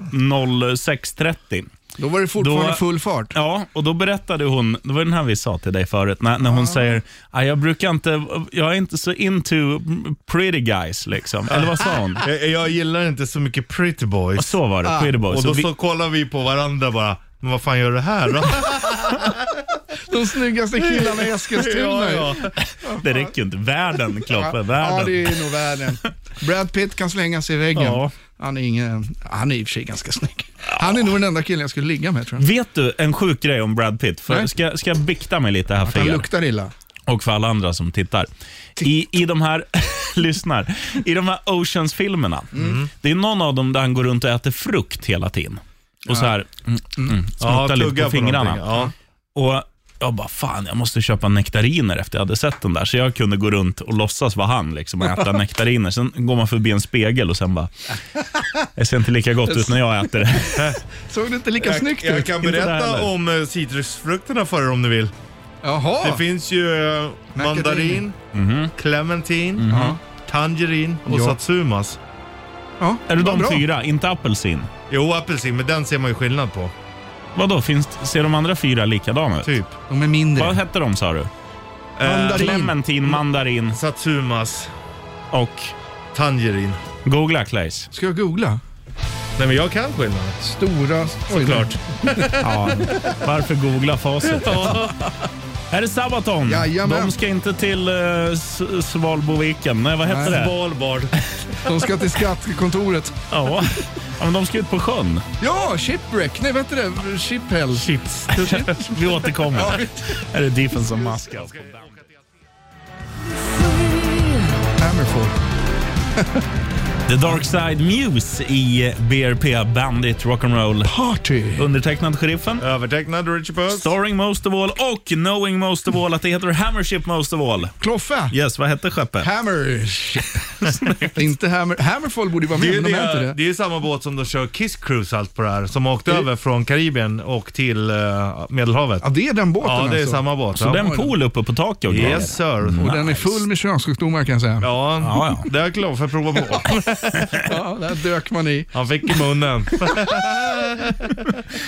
S3: 06.30
S2: Då var det fortfarande
S3: Då-
S2: full fart.
S3: Ja, och då berättade hon, det var den här vi sa till dig förut, när, när hon säger "Ah, jag brukar inte, jag är inte så into pretty guys liksom. Eller vad sa hon?
S5: Jag, jag gillar inte så mycket pretty boys.
S3: Och Så var det, pretty boys.
S5: Och då
S3: Och vi-
S5: så kollar vi på varandra bara, men vad fan gör du här då?
S2: De snyggaste killarna i Eskilstuna.
S5: ja,
S2: ja.
S5: ja.
S3: Det räcker ju inte. Världen, Kloppe.
S2: ja,
S3: Världen.
S2: det är nog världen. Brad Pitt kan slänga sig i väggen.
S3: Ja.
S2: Han är ingen, han är i och för sig ganska snygg. Han är nog den enda killen jag skulle ligga med tror jag.
S3: Vet du en sjuk grej om Brad Pitt? För
S2: Nej.
S3: ska, ska jag bikta mig lite här för
S2: Han
S3: er
S2: luktar illa.
S3: och för alla andra som tittar. I, i de här, lyssnar, i de här Oceans-filmerna, det är någon av dem där han går runt och äter frukt hela tiden. Och så här, mm, mm, snuttar lite
S5: tugga
S3: på fingrarna.
S5: någonting, Ja.
S3: Och jag bara, fan jag måste köpa nektariner efter jag hade sett den där. Så jag kunde gå runt och låtsas vara han liksom, och äta nektariner. Sen går man förbi en spegel och sen bara, det ser inte lika gott ut när jag äter det.
S2: Såg det inte lika
S5: Jag,
S2: snyggt
S5: jag
S2: ut?
S5: kan
S3: Inte där
S5: berätta
S3: heller.
S5: om eh, citrusfrukterna för er om ni vill.
S2: Jaha,
S5: Det finns ju eh, mandarin, clementin,
S3: Mm.
S5: tangerin och
S2: Mhm. Ja.
S5: satsumas.
S2: ja,
S3: Är det
S2: vad
S3: de
S2: bra.
S3: fyra? Inte apelsin?
S5: Jo, apelsin, men den ser man ju skillnad på.
S3: Vadå, finns, ser de andra fyra likadana ut?
S5: Typ.
S2: De är
S3: Vad
S2: mindre.
S3: hette de sa du?
S5: Eh,
S2: Mandarin.
S3: Clementin, mandarin
S5: satsumas,
S3: och...
S5: tangerin.
S3: Googla Claes.
S2: Ska jag googla?
S5: Nej, men jag kan skillnaden.
S2: Stora... Såklart.
S5: Klart.
S3: Ja, varför googla facit? Här är Sabaton.
S2: Jajamän.
S3: De ska inte till eh, S- Svalboviken. Nej, vad hette det?
S5: Valbard.
S2: De ska till skattekontoret.
S3: Ja. ja, men de ska ut på sjön.
S2: Ja, shipwreck. Nej, vad heter det? Shiphell.
S3: Chips. Vi återkommer. Här är Defense of
S5: alltså.
S3: Muscle.
S2: Hammerfall.
S3: The Dark Side Muse i BRP Bandit Rock'n'Roll.
S2: Party.
S3: Undertecknad sheriffen.
S5: Övertecknad Richie Puss.
S3: Starring Most of All och Knowing Most of All. Att det heter Hammership Most of All.
S2: Kloffe.
S3: Yes, vad hette skeppet?
S2: Hammer. inte Hammer. Hammerfall borde ju vara
S5: Det är,
S2: med, men
S5: ju
S2: de är inte
S5: det,
S2: det.
S5: det är ju samma båt som de kör Kiss Cruise allt på det här. Som åkte över från Karibien och till eh, Medelhavet.
S2: Ja, det är den båten
S5: Ja, det är
S2: alltså.
S5: samma båt.
S3: Så
S5: ja.
S3: det är en pool uppe på taket. och grejer.
S5: Yes sir.
S2: Och den är full med könssjukdomar kan jag säga. Mm. Ja,
S5: Ja,
S3: Ja,
S5: det är jag glad för att prova på.
S2: där dök man i.
S5: Han fick i munnen.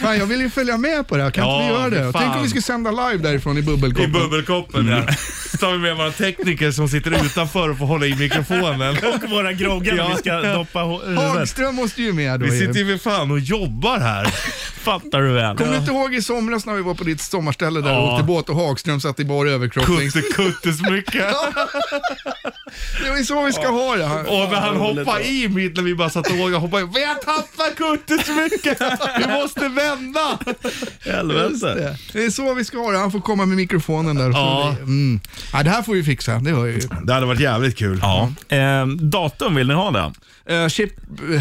S2: Fan, jag vill ju följa med på det här. Kan
S5: Ja,
S2: inte vi göra det?
S5: fan.
S2: Tänk om vi skulle sända live därifrån i
S5: I
S2: bubbelkoppen.
S5: bubbelkoppen ja. Så tar vi med våra tekniker som sitter utanför och får hålla i mikrofonen.
S3: Och våra groggar när vi ska doppa ho- huvudet.
S2: Hagström måste ju med då.
S5: Vi
S2: ju.
S5: sitter ju för fan och jobbar här.
S3: Fattar du väl?
S2: Kommer du inte ihåg i somras när vi var på ditt sommarställe där och
S5: Ja.
S2: åkte båt och Hagström satt i bar överkropp? längst-
S5: Kutte kuttesmycke.
S2: Det är så vi ska ha det här.
S5: Och när han hoppade i mitt när vi bara satt och jag hoppade i. Vi har tappat kuttesmycket! Vi måste vända!
S3: Helvete.
S2: Det är så vi ska ha det. Han får komma med mikrofonen där.
S5: Ja.
S2: Mm. ja det här får vi fixa, det hör jag ju.
S5: Det hade varit jävligt kul.
S3: Ja. Eh, datum vill ni ha det?
S2: Eh, chip,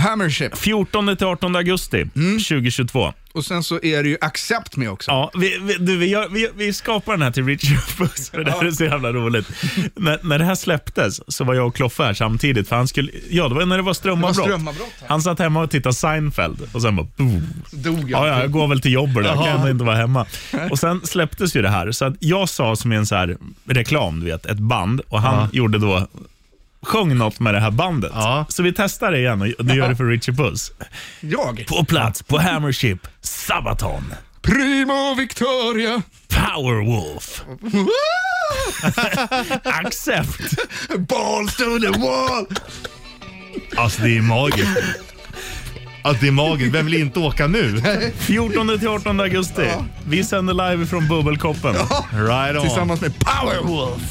S2: hammership.
S3: 14-18 augusti
S5: Mm.
S3: 2022.
S2: Och sen så är det ju Accept med också.
S3: Ja, vi, vi, du, vi, gör, vi, vi skapar den här till Richard Puss, för det här är så jävla roligt. när, när det här släpptes så var jag och Kloffe här samtidigt, för han skulle, ja det var när det var strömavbrott.
S2: Det var strömavbrott här.
S3: han satt hemma och tittade Seinfeld och sen bara, boom.
S2: Dog jag.
S3: Ja, ja, jag går väl till jobbet då. Jag kan ändå inte vara hemma. Och sen släpptes ju det här, så att jag sa som i en så här reklam, du vet, ett band och han gjorde då sjöng något med det här bandet.
S5: Ja.
S3: Så vi testar det igen och du gör det för Richie Puss.
S2: Jag.
S3: På plats på Hammership, Sabaton,
S2: Primo Victoria.
S3: Powerwolf, Accept.
S2: Balls to the wall.
S5: Alltså det är magiskt. Alltså det är magiskt. Vem vill inte åka nu?
S3: 14 till 18 augusti. Vi sänder live från Bubbelkoppen.
S5: Right on.
S2: Tillsammans med Powerwolf.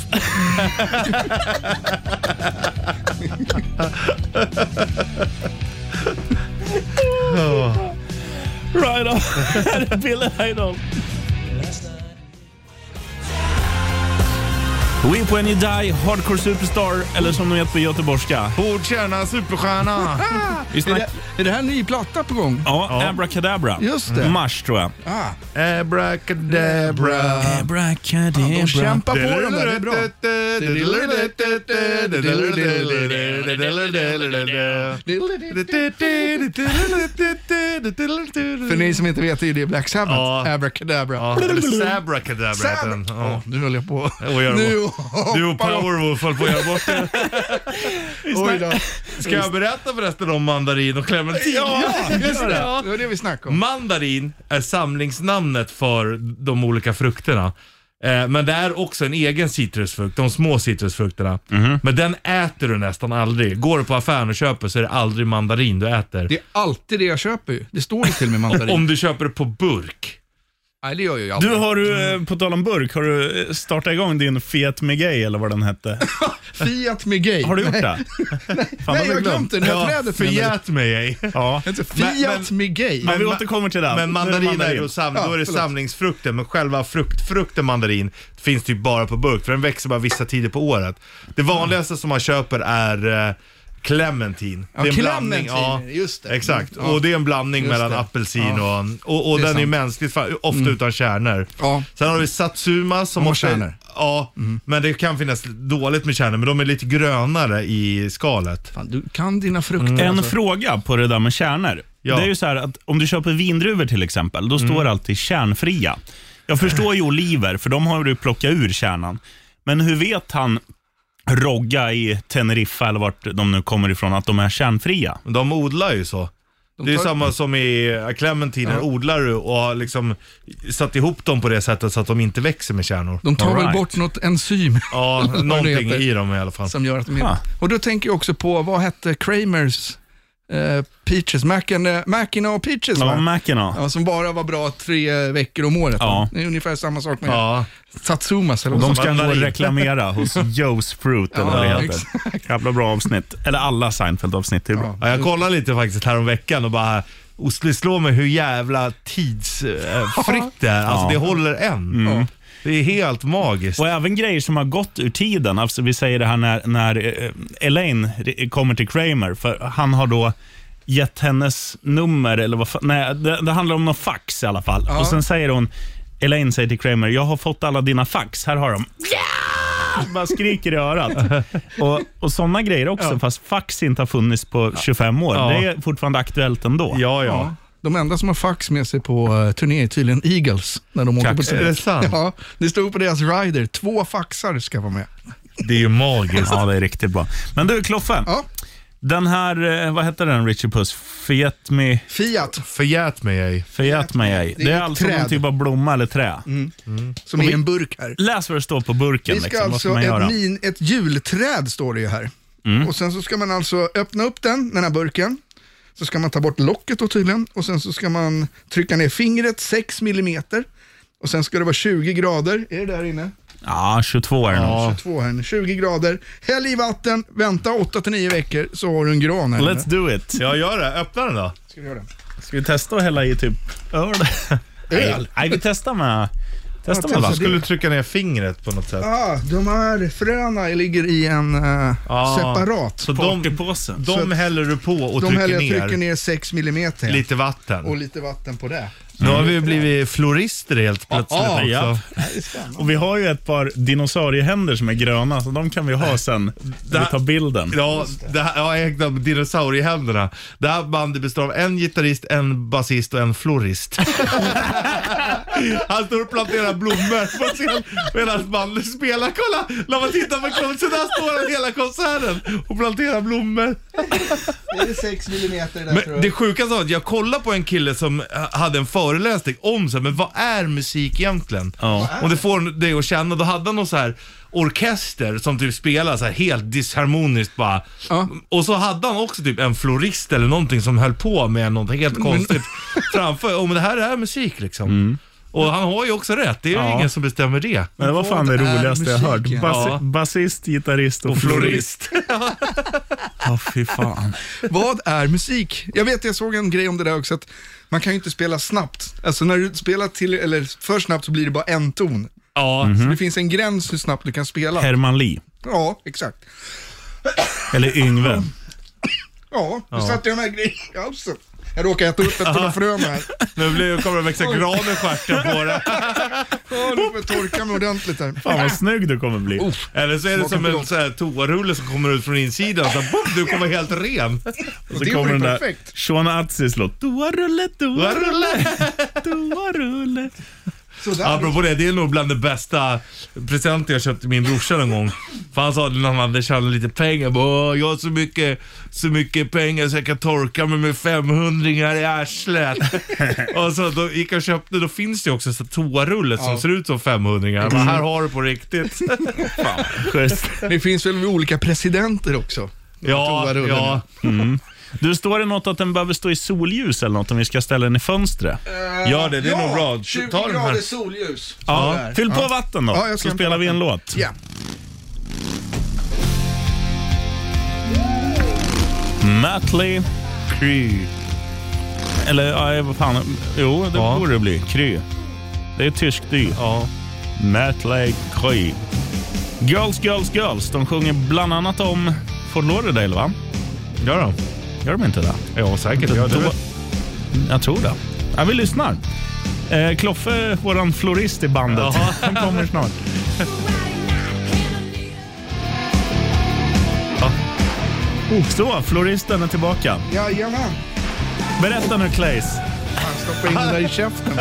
S3: Right on. Här är Billy Idol. Weep When You Die, Hardcore Superstar, eller som de heter på göteborgska.
S5: Bordstjärna, superstjärna.
S3: Vi
S2: Är
S3: snack-
S2: det, är det här en ny platta på gång?
S3: Ja, Abracadabra.
S2: Just det.
S3: Mars tror jag.
S2: Ah,
S5: Abracadabra.
S3: Abracadabra.
S2: Eh, de kämpar på dem där, det är bra. För ni som inte vet är ju det Black Sabbath,
S5: Ja.
S2: Abracadabra.
S5: Ja, eller Sabracadabra heter den.
S2: Sabbath.
S5: Ja.
S2: Åh, nu höll jag på.
S5: Och gör
S2: Nu
S5: Du och
S2: hoppar de.
S5: Powerwolf höll på att göra bort det.
S2: Oj då.
S5: Ska jag berätta förresten om mandarin och clementin?
S2: Ja, just det.
S5: Ja.
S2: Det var det vi snackade om.
S5: Mandarin är samlingsnamnet för de olika frukterna. Eh, Men det är också en egen citrusfrukt, de små citrusfrukterna.
S2: Mhm.
S5: Men den äter du nästan aldrig. Går du på affären och köper så är det aldrig mandarin du äter.
S2: Det är alltid det jag köper ju. Det står ju till och med mandarin.
S5: Om du köper det på burk.
S2: Nej, det gör jag ju aldrig.
S3: Du, har du, eh, på tal om burk, har du eh, startat igång din Fiat Megay eller vad den hette?
S2: Fiat med gay.
S3: Har du gjort
S2: Nej.
S3: det? Fan,
S2: Nej, jag har glömt det. När jag träder på den.
S5: Förgät mig ej.
S3: Ja.
S2: Fiat med gay.
S3: Men vi
S5: ma-
S3: återkommer till det.
S5: Men
S3: Nu är det
S5: mandarin är ju sam-
S2: Ja,
S5: då är det
S2: förlåt.
S5: samlingsfrukten, men själva frukt, frukten mandarin finns typ bara på burk, för den växer bara vissa tider på året. Det
S2: Mm.
S5: vanligaste som man köper är eh, clementin.
S2: Ja,
S5: det är
S2: clementin, just det.
S5: Exakt,
S2: Mm, ja.
S5: och det är en blandning
S2: Just
S5: mellan
S2: det.
S5: apelsin
S2: Ja.
S5: och... Och, och
S2: Det är
S5: den är
S2: sant.
S5: ju
S2: Mm.
S5: mänskligt, fa- ofta utan kärnor.
S2: Ja.
S5: Sen har vi satsuma som
S2: har
S5: ofta...
S2: kärnor. Mm.
S5: Ja, men det kan finnas dåligt med kärnor, men de är lite grönare i skalet.
S2: Fan, du kan dina frukter
S3: En
S2: alltså.
S3: fråga på det där med kärnor.
S5: Ja.
S3: Det är ju så här att om du köper vindruvor till exempel, då står det alltid kärnfria. Jag förstår ju oliver, för de har du plockat ur kärnan. Men hur vet han Rogga i Teneriffa eller vart de nu kommer ifrån, att de är kärnfria?
S5: De odlar ju så. det är
S2: tar-
S5: samma som i eh, clementiner, odlar du och har liksom satt ihop dem på det sättet så att de inte växer med kärnor.
S2: De tar
S3: All
S2: väl
S3: right.
S2: bort något enzym
S5: Ja,
S2: Vad det
S5: någonting
S2: heter.
S5: i dem i alla fall.
S2: som gör att de
S3: Ah.
S2: inte... Och då tänker jag också på, vad hette Kramers eh, Peaches, Mackina, Mackina och Peaches
S3: Ja,
S2: va?
S3: Mackinac.
S2: Ja, som bara var bra tre veckor om året. va?
S3: Ja.
S2: Det är ungefär samma sak med
S5: Ja.
S2: Satsumas. Eller vad
S3: De
S2: som-
S3: ska gå och
S5: mandarin.
S3: reklamera hos Joe's Fruit eller vad
S2: Ja,
S3: det heter. Jävla bra avsnitt. Eller alla Seinfeld-avsnitt. Det är bra.
S5: Ja, jag kollade lite faktiskt häromveckan och bara, och det slår mig hur jävla tidsfritt det är. Alltså
S3: Ja.
S5: det håller än. Det är helt magiskt.
S3: Och även grejer som har gått ur tiden. Alltså, vi säger det här när, när eh, Elaine r- kommer till Kramer, för han har då gett hennes nummer, eller vad fa- Nej, det, det handlar om någon fax i alla fall. Och sen säger hon, Elaine säger till Kramer, jag har fått alla dina fax, här har de. Ja! Bara skriker i örat. Och, och sådana grejer också, fast fax inte har funnits på 25 år.
S5: Ja.
S3: Det är fortfarande aktuellt ändå.
S5: Ja, ja.
S2: Ja. De enda som har fax med sig på eh, turné är tydligen Eagles. När de åker på
S5: Är
S2: turné.
S5: det sant?
S2: Ja, det stod på deras rider. Två faxar ska vara med.
S5: Det är ju magiskt.
S3: Ja, det är riktigt bra. Men du, Kloffe.
S2: Ja.
S3: Den här, eh, vad hette den, Richie Puss? Fiat Me...
S2: Fiat,
S5: Förgät mig ej.
S3: Förgät mig ej. Det
S2: Det är
S3: är
S2: ett
S3: alltså
S2: träd.
S3: någon typ av blomma eller trä.
S2: som är en burk här.
S3: Läs vad det står på burken.
S2: Vi ska
S3: liksom. vad ska
S2: alltså,
S3: man göra? Mm.
S2: ett, min, ett julträd står det ju här. Och sen så ska man alltså öppna upp den, den här burken. Så ska man ta bort locket då tydligen. Och sen så ska man trycka ner fingret 6 millimeter. Och sen ska det vara 20 grader. Är det där inne?
S3: Ja, 22 är det nog.
S2: 22 här inne. 20 grader. Häll i vatten, vänta 8-9 veckor så har du en gran här inne.
S3: Let's do it.
S5: Jag gör det. Öppna den då.
S2: Ska vi göra den?
S3: Ska vi testa att hälla i typ öl? Nej, nej, vi testar med... Testa med
S2: testa
S5: Jag
S3: vatten.
S5: skulle trycka ner fingret på något sätt.
S2: Ah, de här fröna ligger i en eh,
S5: Ah.
S2: separat.
S5: Så de,
S3: Partypåsen.
S5: de häller du på och
S2: de
S5: trycker,
S2: häller jag
S5: ner
S2: trycker ner 6 millimeter
S5: lite vatten.
S2: och lite vatten på det.
S5: Nu har vi blivit florister helt plötsligt
S3: Ja,
S5: också.
S3: ja. Och vi har ju ett par dinosauriehänder som är gröna, så de kan vi ha sen när vi tar bilden.
S5: Ja, det här, jag ägde av dinosauriehänderna. Det här bandet består av en gitarrist, en basist och en florist. Han står och planterar blommor på scen medan bandet spelar. Kolla! När man tittar på konserten, så där står han hela konserten och planterar blommor.
S2: Det är 6 millimeter där tror
S5: Men
S2: jag.
S5: det sjukaste var att jag kollade på en kille som eh, hade en föreläsning om så här, men vad är musik egentligen?
S3: Ja.
S5: Om det får dig att känna, då hade han någon så här orkester som typ spelar så här helt disharmoniskt bara.
S2: Ja.
S5: Och så hade han också typ en florist eller någonting som höll på med någonting helt konstigt framför. Oh, men det här är musik liksom. Och han har ju också rätt, det är ju
S3: Ja.
S5: ingen som bestämmer det.
S3: Men det var fan det
S2: Vad är
S3: roligaste jag hört.
S2: musiken?
S3: Bas,
S5: Ja.
S3: Basist, gitarrist och,
S5: Florist.
S3: Ja, fy fan.
S2: Vad är musik? Jag vet, jag såg en grej om det där också, att man kan ju inte spela snabbt. Alltså när du spelar till, eller för snabbt så blir det bara en ton.
S5: Ja,
S2: Så det finns en gräns hur snabbt du kan spela.
S3: Herman Lee.
S2: Ja, exakt.
S3: Eller Yngve.
S2: Ja, nu satte jag den här grejen i halsen. Jag råkade äta upp ett par frön här.
S5: nu blir, kommer det växa gran i stjärten på det.
S2: Ja, nu får jag torka mig ordentligt här.
S3: Fan vad snygg du kommer
S2: Oh.
S3: bli.
S5: Eller så är det
S2: Smaken
S5: som
S2: på
S5: en
S2: gott.
S5: så här toarulle som kommer ut från insidan. Så här, boom, du kommer helt ren.
S3: Och
S2: det
S3: så
S2: vore
S3: kommer den där
S2: perfekt.
S3: Sean Atzis låt. Toarulle, toarulle, toarulle.
S2: Sådär.
S5: Apropå det, det är nog bland det bästa presenter jag köpt till min brorsa någon gång. För han sa det när han hade tjänat lite pengar. Bara, "Åh, jag har så mycket, så mycket pengar så jag kan torka mig med 500 i arslet. och så då gick jag och köpte, då finns det ju också så här toarullet som ser ut som 500 Jag bara, Här har du på riktigt.
S3: Schysst.
S2: Det finns väl olika presidenter också?
S5: ja,
S2: Toarullen.
S5: ja.
S3: Du, står det något att den behöver stå i solljus eller något om vi ska ställa den i fönstret?
S2: Eh,
S5: Gör det, det är nog bra.
S2: 20
S5: Ta den här.
S2: grader solljus.
S3: Ja.
S2: Sådär.
S3: Fyll på vatten då,
S2: Ja, jag ska
S3: så
S2: hämta
S3: spelar vi en låt.
S2: Ja.
S3: Matley. Kry. Eller, ja, vad fan. Jo, det borde det bli. Kry. Det är tyskt dy. Ja. Matley Kry. Girls, girls, girls. De sjunger bland annat om Fort Lauderdale, va?
S5: Gör de?
S3: Gör de inte det?
S5: Ja, säkert. Ja, det
S3: Då- Jag tror det. Ja, vi lyssnar. Eh, Kloffe, våran florist i bandet, han kommer snart. Ja.
S5: Oh.
S3: Så, floristen är tillbaka.
S2: Jajamän.
S3: Berätta nu Claes.
S2: Han stoppar in den där i käften.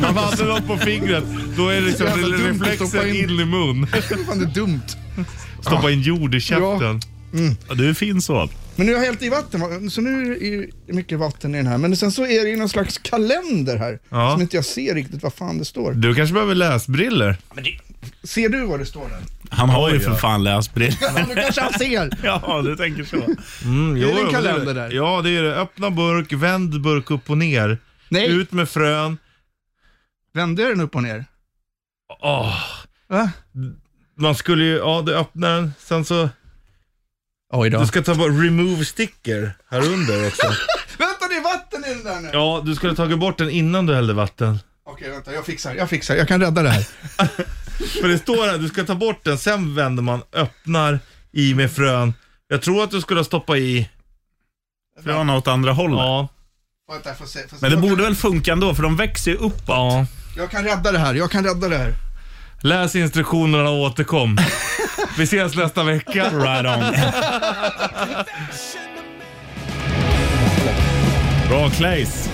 S5: Man hade något på fingret, då är det liksom
S2: Jävla dumt att
S5: reflexen
S2: stoppa
S5: in.
S2: in.
S5: i mun.
S2: Fan, det är dumt.
S5: Stoppa in jord i käften.
S2: Mm.
S3: Ja, Du är fin så.
S2: Men nu har jag hällt i vatten, va? så nu är det ju mycket vatten i den här. Men sen så är det ju någon slags kalender här,
S5: Ja.
S2: som inte jag ser riktigt vad fan det står.
S5: Du kanske behöver läsbriller?
S2: Ser du vad det står där?
S3: Han har ju för fan läsbrillor.
S2: Nu kanske han ser.
S3: ja, du tänker så.
S5: Mm,
S2: det
S5: jo,
S2: en
S5: jo,
S2: kalender
S5: det är det.
S2: där?
S5: Ja, det är det. Öppna burk, vänd burk upp och ner.
S2: Nej.
S5: Ut med frön.
S2: Vänder jag den upp och ner?
S5: Åh,
S2: Va?
S5: man skulle ju, ja du öppnar den, sen så...
S2: Oj då.
S5: Du ska ta bort remove sticker här under också.
S2: Vänta, det är vatten i den där nu.
S5: ja, du skulle ha tagit bort den innan du hällde vatten.
S2: Okej, vänta, jag fixar, jag fixar, jag kan rädda det här.
S5: För det står här, du ska ta bort den, sen vänder man, öppnar, i med frön. Jag tror att du skulle ha stoppat i,
S3: Från åt andra hållet.
S5: ja.
S2: Vänta, jag får se, får se.
S3: Men det
S2: jag,
S3: borde väl funka ändå, för de växer ju uppåt.
S2: kan,
S5: ja.
S2: jag kan rädda det här, jag kan rädda det här.
S5: Läs instruktionerna och återkom. Vi ses nästa vecka.
S3: Right on. Bra Claes.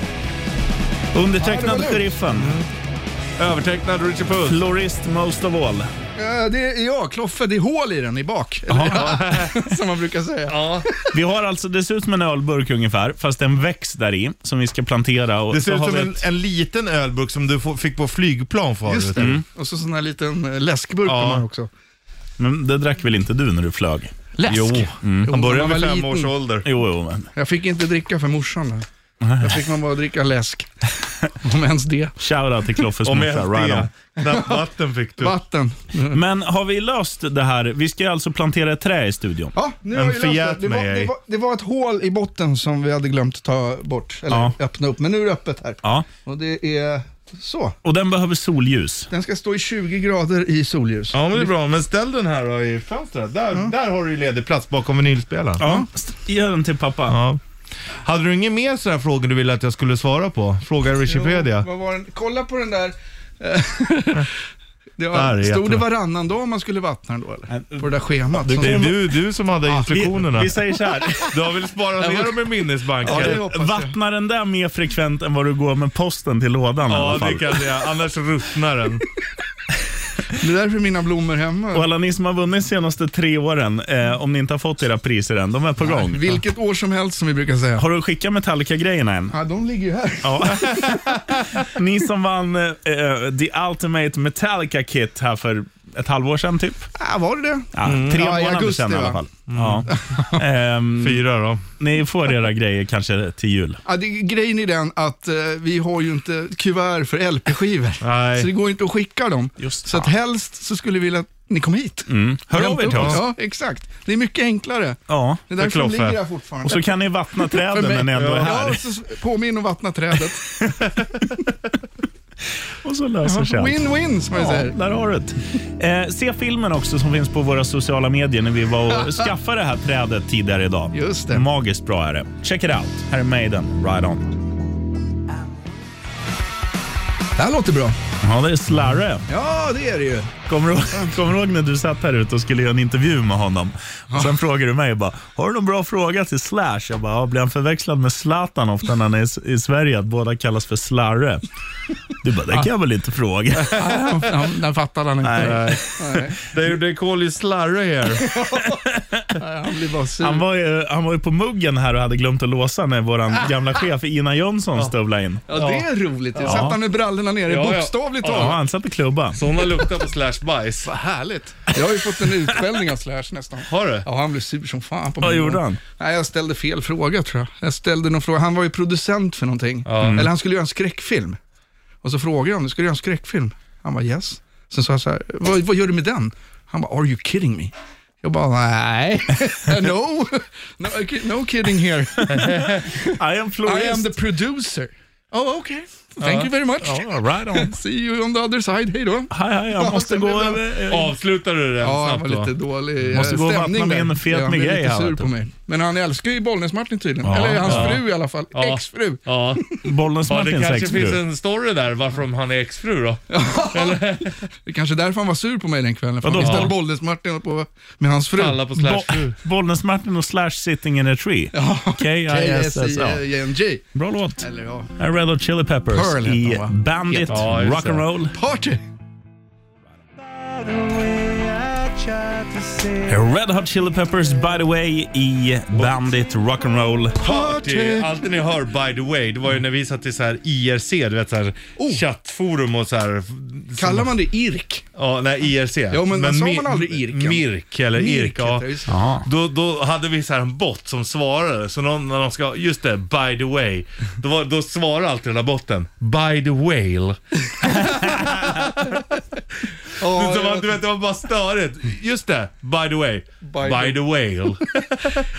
S3: Undertecknad sheriffen.
S5: Mm. Övertecknad Richard Puss.
S3: Florist most of all.
S2: Eh, det är jag, Kloffe, det är hål i den i bak. Eller, som man brukar säga.
S5: Ja.
S3: Vi har alltså, det ser ut som en ölburk ungefär, fast det är en växt där i som vi ska plantera. Och
S5: Det
S3: så
S5: ser ut
S3: har
S5: som
S3: vi
S5: en,
S3: ett-
S5: en liten ölburk som du få- fick på flygplan förut. Mm.
S2: Just det. Och så sån här liten eh, läskburk
S5: Ja.
S2: ja. man också.
S3: Men det drack väl inte du när du flög?
S2: Läsk?
S3: Jo, mm.
S2: Jo,
S5: Han började
S2: när man
S5: vid
S2: var
S5: fem
S2: liten.
S5: års ålder.
S3: jo, jo men.
S2: Jag fick inte dricka för morsan. där. Jag fick man bara dricka läsk. Om ens det.
S5: Typ.
S3: Shoutout till Kloffes
S5: Om
S3: morsa,
S5: ens
S3: Mm. right on.
S5: det. Knappt vatten fick du.
S2: Vatten.
S3: Men har vi löst det här? Vi ska ju alltså plantera ett trä i studion.
S2: Ja, nu har
S5: Men
S2: jag löst
S5: förgät
S2: det. Det, var,
S5: mig ej.
S2: det, var, det var ett hål i botten som vi hade glömt ta bort, eller
S3: Ja.
S2: öppna upp. Men nu är det öppet här.
S3: Ja,
S2: Och det är så.
S3: och den behöver solljus.
S2: Den ska stå i 20 grader i solljus.
S5: Ja men det är bra, men ställ den här då i fönstret. Där, där har du ju ledig plats bakom vinylspelaren.
S3: Ja, st- ge den till pappa.
S5: Ja. Hade du inga mer sådana här frågor du ville att jag skulle svara på? Fråga Wikipedia.
S2: Vad var den? Kolla på den där. eh, det
S5: Där är
S2: var, stod det
S5: jättebra.
S2: varannan dag om man skulle vattna den då eller? På det där schemat. som-
S5: Det är du, du som hade instruktionerna.
S3: Vi, vi säger så här.
S5: Du har väl sparat ner dem i
S2: Ja, det
S5: minnesbanken?
S2: hoppas jag.
S3: Vattna den där mer frekvent än vad du går med posten till lådan i
S5: Ja,
S3: alla
S5: det
S3: fall.
S5: kan jag säga. Annars ruttnar den.
S2: Det är därför mina blommor
S3: Och
S2: hemma.
S3: alla ni som har vunnit de senaste tre åren, eh, om ni inte har fått era priser än, de är på gång.
S2: Vilket år som helst som vi brukar säga.
S3: Har du skickat Metallica-grejerna än?
S2: Ja, de ligger ju här.
S3: Ja. ni som vann eh, eh, The Ultimate Metallica Kit här för ett halvår sedan typ.
S2: Ja, var det det?
S3: Ja, Tre
S2: Mm. Ja, i
S3: månader
S2: augusti,
S3: sedan i alla
S2: va? Mm.
S3: fall. Ja. Ehm,
S5: Fyra då.
S3: ni får era grejer kanske till jul.
S2: Ja, det, grejen är den att eh, vi har ju inte kuvert för LP-skivor.
S5: Nej.
S2: Så det går ju inte att skicka dem.
S3: Just
S2: så att
S3: fan. Mm.
S2: helst så skulle vi vilja att ni kom hit.
S3: Hör av
S2: Hämta
S3: er till
S2: upp
S3: oss.
S2: Ja, exakt. Det är mycket enklare.
S3: Ja.
S2: Det är därför de
S5: Kloffe.
S2: ligger här fortfarande.
S3: Och så kan ni vattna träden när ni ändå är
S2: Ja,
S3: här.
S2: och så påminn och vattna trädet.
S3: Och så löser sig allt.
S2: Win-win som man
S3: Ja,
S2: säger.
S3: där har du det. Eh, se filmen också som finns på våra sociala medier när vi var och skaffade det här trädet tidigare idag.
S2: Just det.
S3: Magiskt bra är det. Check it out. Här är Maiden, Ride On.
S2: Det här låter bra.
S3: Ja, det är Slarre.
S2: Ja, det är det ju.
S3: Kommer du, kommer du ihåg när du satt här ute och skulle göra en intervju med honom? Och sen frågade du mig bara, har du någon bra fråga till Slash? Jag bara, ja, blir han förväxlad med Zlatan ofta när han är i, S- i Sverige? Att båda kallas för Slarre. Du bara, det kan jag väl inte fråga?
S2: Den, fattade han inte.
S3: Nej.
S5: They, they call you slarry here.
S2: Han blir bara sur.
S3: Han var, ju, han var ju på muggen här och hade glömt att låsa när vår gamla chef Ina Jönsson stövlade in.
S2: Ja, det är roligt. Ja. Satt han med brallorna nere,
S5: Ja, ja.
S2: bokstavligt
S3: Ja,
S2: talat.
S3: han satt i klubba.
S5: Så hon har luktat på slash bajs.
S2: Härligt. Jag har ju fått en utskällning av Slash nästan.
S5: Har du?
S2: Ja, han blev sur som fan på
S3: Vad
S2: mig.
S3: gjorde han?
S2: Nej, jag ställde fel fråga tror jag. Jag ställde någon fråga. Han var ju producent för någonting. Eller han skulle göra en skräckfilm. Och så frågade jag om du skulle göra en skräckfilm. Han var yes. Sen sa jag så här, vad, vad gör du med den? Han bara, are you kidding me? Jag bara, nej. no. no. No kidding here.
S3: I am
S2: I am
S3: florist.
S2: the producer. Oh, okay. Thank you very much.
S3: Ja, right on.
S2: See you on the other side. Hej då.
S3: Hej, hej, jag måste
S2: sen
S3: gå
S2: blev han-
S3: över. eh,
S5: Avslutar du den
S2: Ja, han
S5: snabbt
S2: var
S5: då? Mm.
S2: lite dålig eh,
S3: Måste gå och vattna
S2: stämning
S3: med
S2: där.
S3: en fet
S2: Ja, han blev
S3: med grej
S2: lite
S3: här,
S2: sur
S3: vet du.
S2: på mig. Men han älskar ju Bollnäs-Martin tydligen. Eller hans fru i alla fall.
S5: Ja.
S2: Exfru.
S5: Ja.
S3: Bollnäs
S5: ja, det
S3: Martins
S5: kanske finns
S3: exfru.
S5: en story där varför han är exfru då.
S2: Det är kanske är därför han var sur på mig den kvällen. För han
S3: Vadå?
S2: visste
S3: Ja.
S2: att Bollnäs-Martin höll på med hans fru.
S5: Alla på slash fru.
S3: Bo- Bollnäs Martin och Slash sitting in a tree.
S2: E
S3: K-I-S-S-A.
S2: K-S-I-N-J.
S3: Bra låt.
S2: Eller ja,
S3: Här är Red Hot Chili Peppers
S2: Pearl heter
S3: i
S2: de, va?
S3: Bandit
S5: Ja, just det.
S3: Rock'n'Roll.
S2: party.
S8: The way I tried
S3: Red Hot Chili Peppers, by the way, i Bandit Rock'n'Roll.
S5: Party! Alltid när jag hör by the way, det var ju när vi satt i så här IRC, du vet så här
S2: Oh.
S5: chattforum och så här.
S2: Kallar man det irk?
S5: Ja, nej IRC.
S2: Ja, men sa man
S5: mi-
S2: aldrig irken?
S5: Mirk eller
S2: Mirk
S5: irk, ja.
S2: heter det, just det.
S3: Jaha.
S5: Då, då hade vi så här en bot som svarade, så någon, när de ska, just det, by the way. Då, var, då svarade alltid den där botten, by the whale.
S2: Ja,
S5: Så
S2: ja.
S5: man, du vet, det var bara störigt. Just det, by the way,
S2: the-
S5: by, the whale.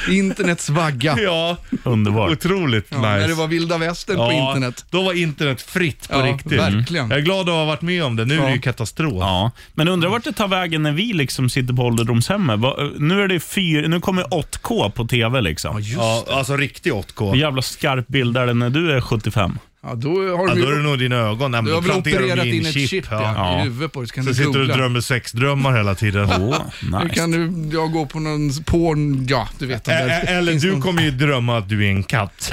S2: Internets vagga.
S5: ja,
S3: Underbart.
S5: otroligt
S2: Ja,
S5: nice.
S2: När det var vilda västern på
S5: Ja,
S2: internet.
S5: Då var internet fritt på
S2: Ja,
S5: riktigt.
S2: verkligen.
S5: Jag är glad att ha varit med om det. Nu är det
S2: Ja.
S5: ju katastrof.
S3: Ja, men undrar vart det tar vägen när vi liksom sitter på ålderdomshemmet. Va- Nu är det fyra, nu kommer 8K på TV liksom.
S5: Ja, alltså riktig 8K.
S3: Hur jävla skarp bild är den när du är 75?
S2: Ja, då har
S5: Ja,
S2: de
S5: då är
S2: ju
S5: det nog dina ögon. Nej, men
S2: Du har
S5: då
S2: väl
S5: planterar de
S2: opererat
S5: ju
S2: in ett chip, ja, i huvudet på dig, så kan
S5: Så
S2: du
S5: sitter du och
S2: googla.
S5: drömmer sexdrömmar hela tiden.
S3: Åh,
S2: Nu
S3: nice.
S2: kan du, jag går på någon porn, ja du vet. de
S5: Ä-
S2: där.
S5: ä- Eller
S2: Finns
S5: Eh, du
S2: någon-
S5: kommer ju drömma att du är en katt.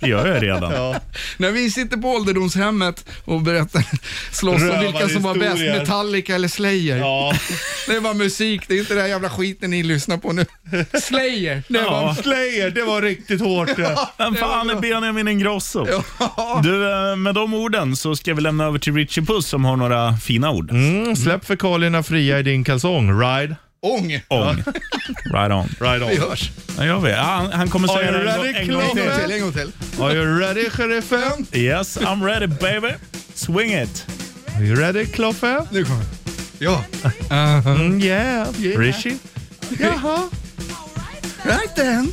S3: Det gör jag redan.
S2: När vi sitter på ålderdomshemmet och berättar, slåss om vilka som var bäst,
S5: Rövarhistorier.
S2: Metallica eller Slayer.
S5: Ja.
S2: Det var musik, det är inte den här jävla skiten ni lyssnar på nu. Slayer! Det var...
S5: Slayer, det var riktigt hårt det.
S3: Vem fan är Benjamin Ingrosso?
S2: Ja.
S3: Du, eh, med de orden så ska vi lämna över till Richie Puss som har några fina ord.
S5: Mm, släpp fekalierna fria i din kalsong. Ride.
S2: Ång!
S3: Ång. Right on.
S5: Ride
S2: Vi
S5: on.
S2: hörs.
S3: Ja, jag vet. Han, han kommer
S5: Are
S3: säga
S5: you
S3: det en,
S5: ready,
S3: gång- en gång
S2: En
S5: Kloffe?
S2: gång
S3: till.
S2: till, en gång till.
S5: Are you ready sheriffen?
S3: Yes, I'm ready baby. Swing it.
S5: Are you ready Kloffe?
S2: Nu kommer Ja.
S5: Mm, yeah.
S2: Yeah.
S5: Rishi? Jaha.
S2: Right then.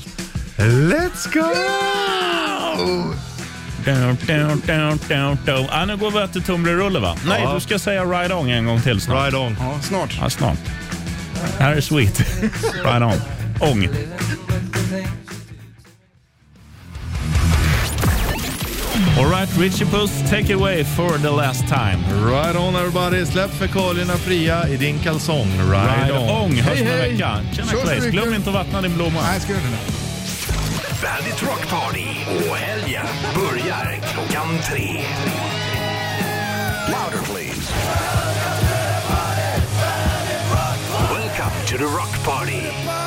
S5: Let's go!
S3: Down, down, down, down, down. Ah, nu går vi och äter tunnbrödsrulle va? Nej,
S5: Ja.
S3: du ska säga ride on en gång till snart.
S5: Ride on.
S2: Ja, snart.
S3: Ja, snart. Här är sweet. ride on. Ång. Alright, Richie Puss, take it away for the last time.
S5: Ride on everybody. Släpp fekalierna fria i din kalsong. Ride,
S3: Ride
S5: on.
S3: on. Hörs om en
S2: hej.
S3: vecka. Tjena
S2: Kör så
S3: Claes,
S2: mycket.
S3: glöm inte att vattna din blomma.
S2: Nej, ska jag göra det?
S1: Bandit Rock Party och helgen börjar klockan tre. Louder please. Welcome to the Rock Party.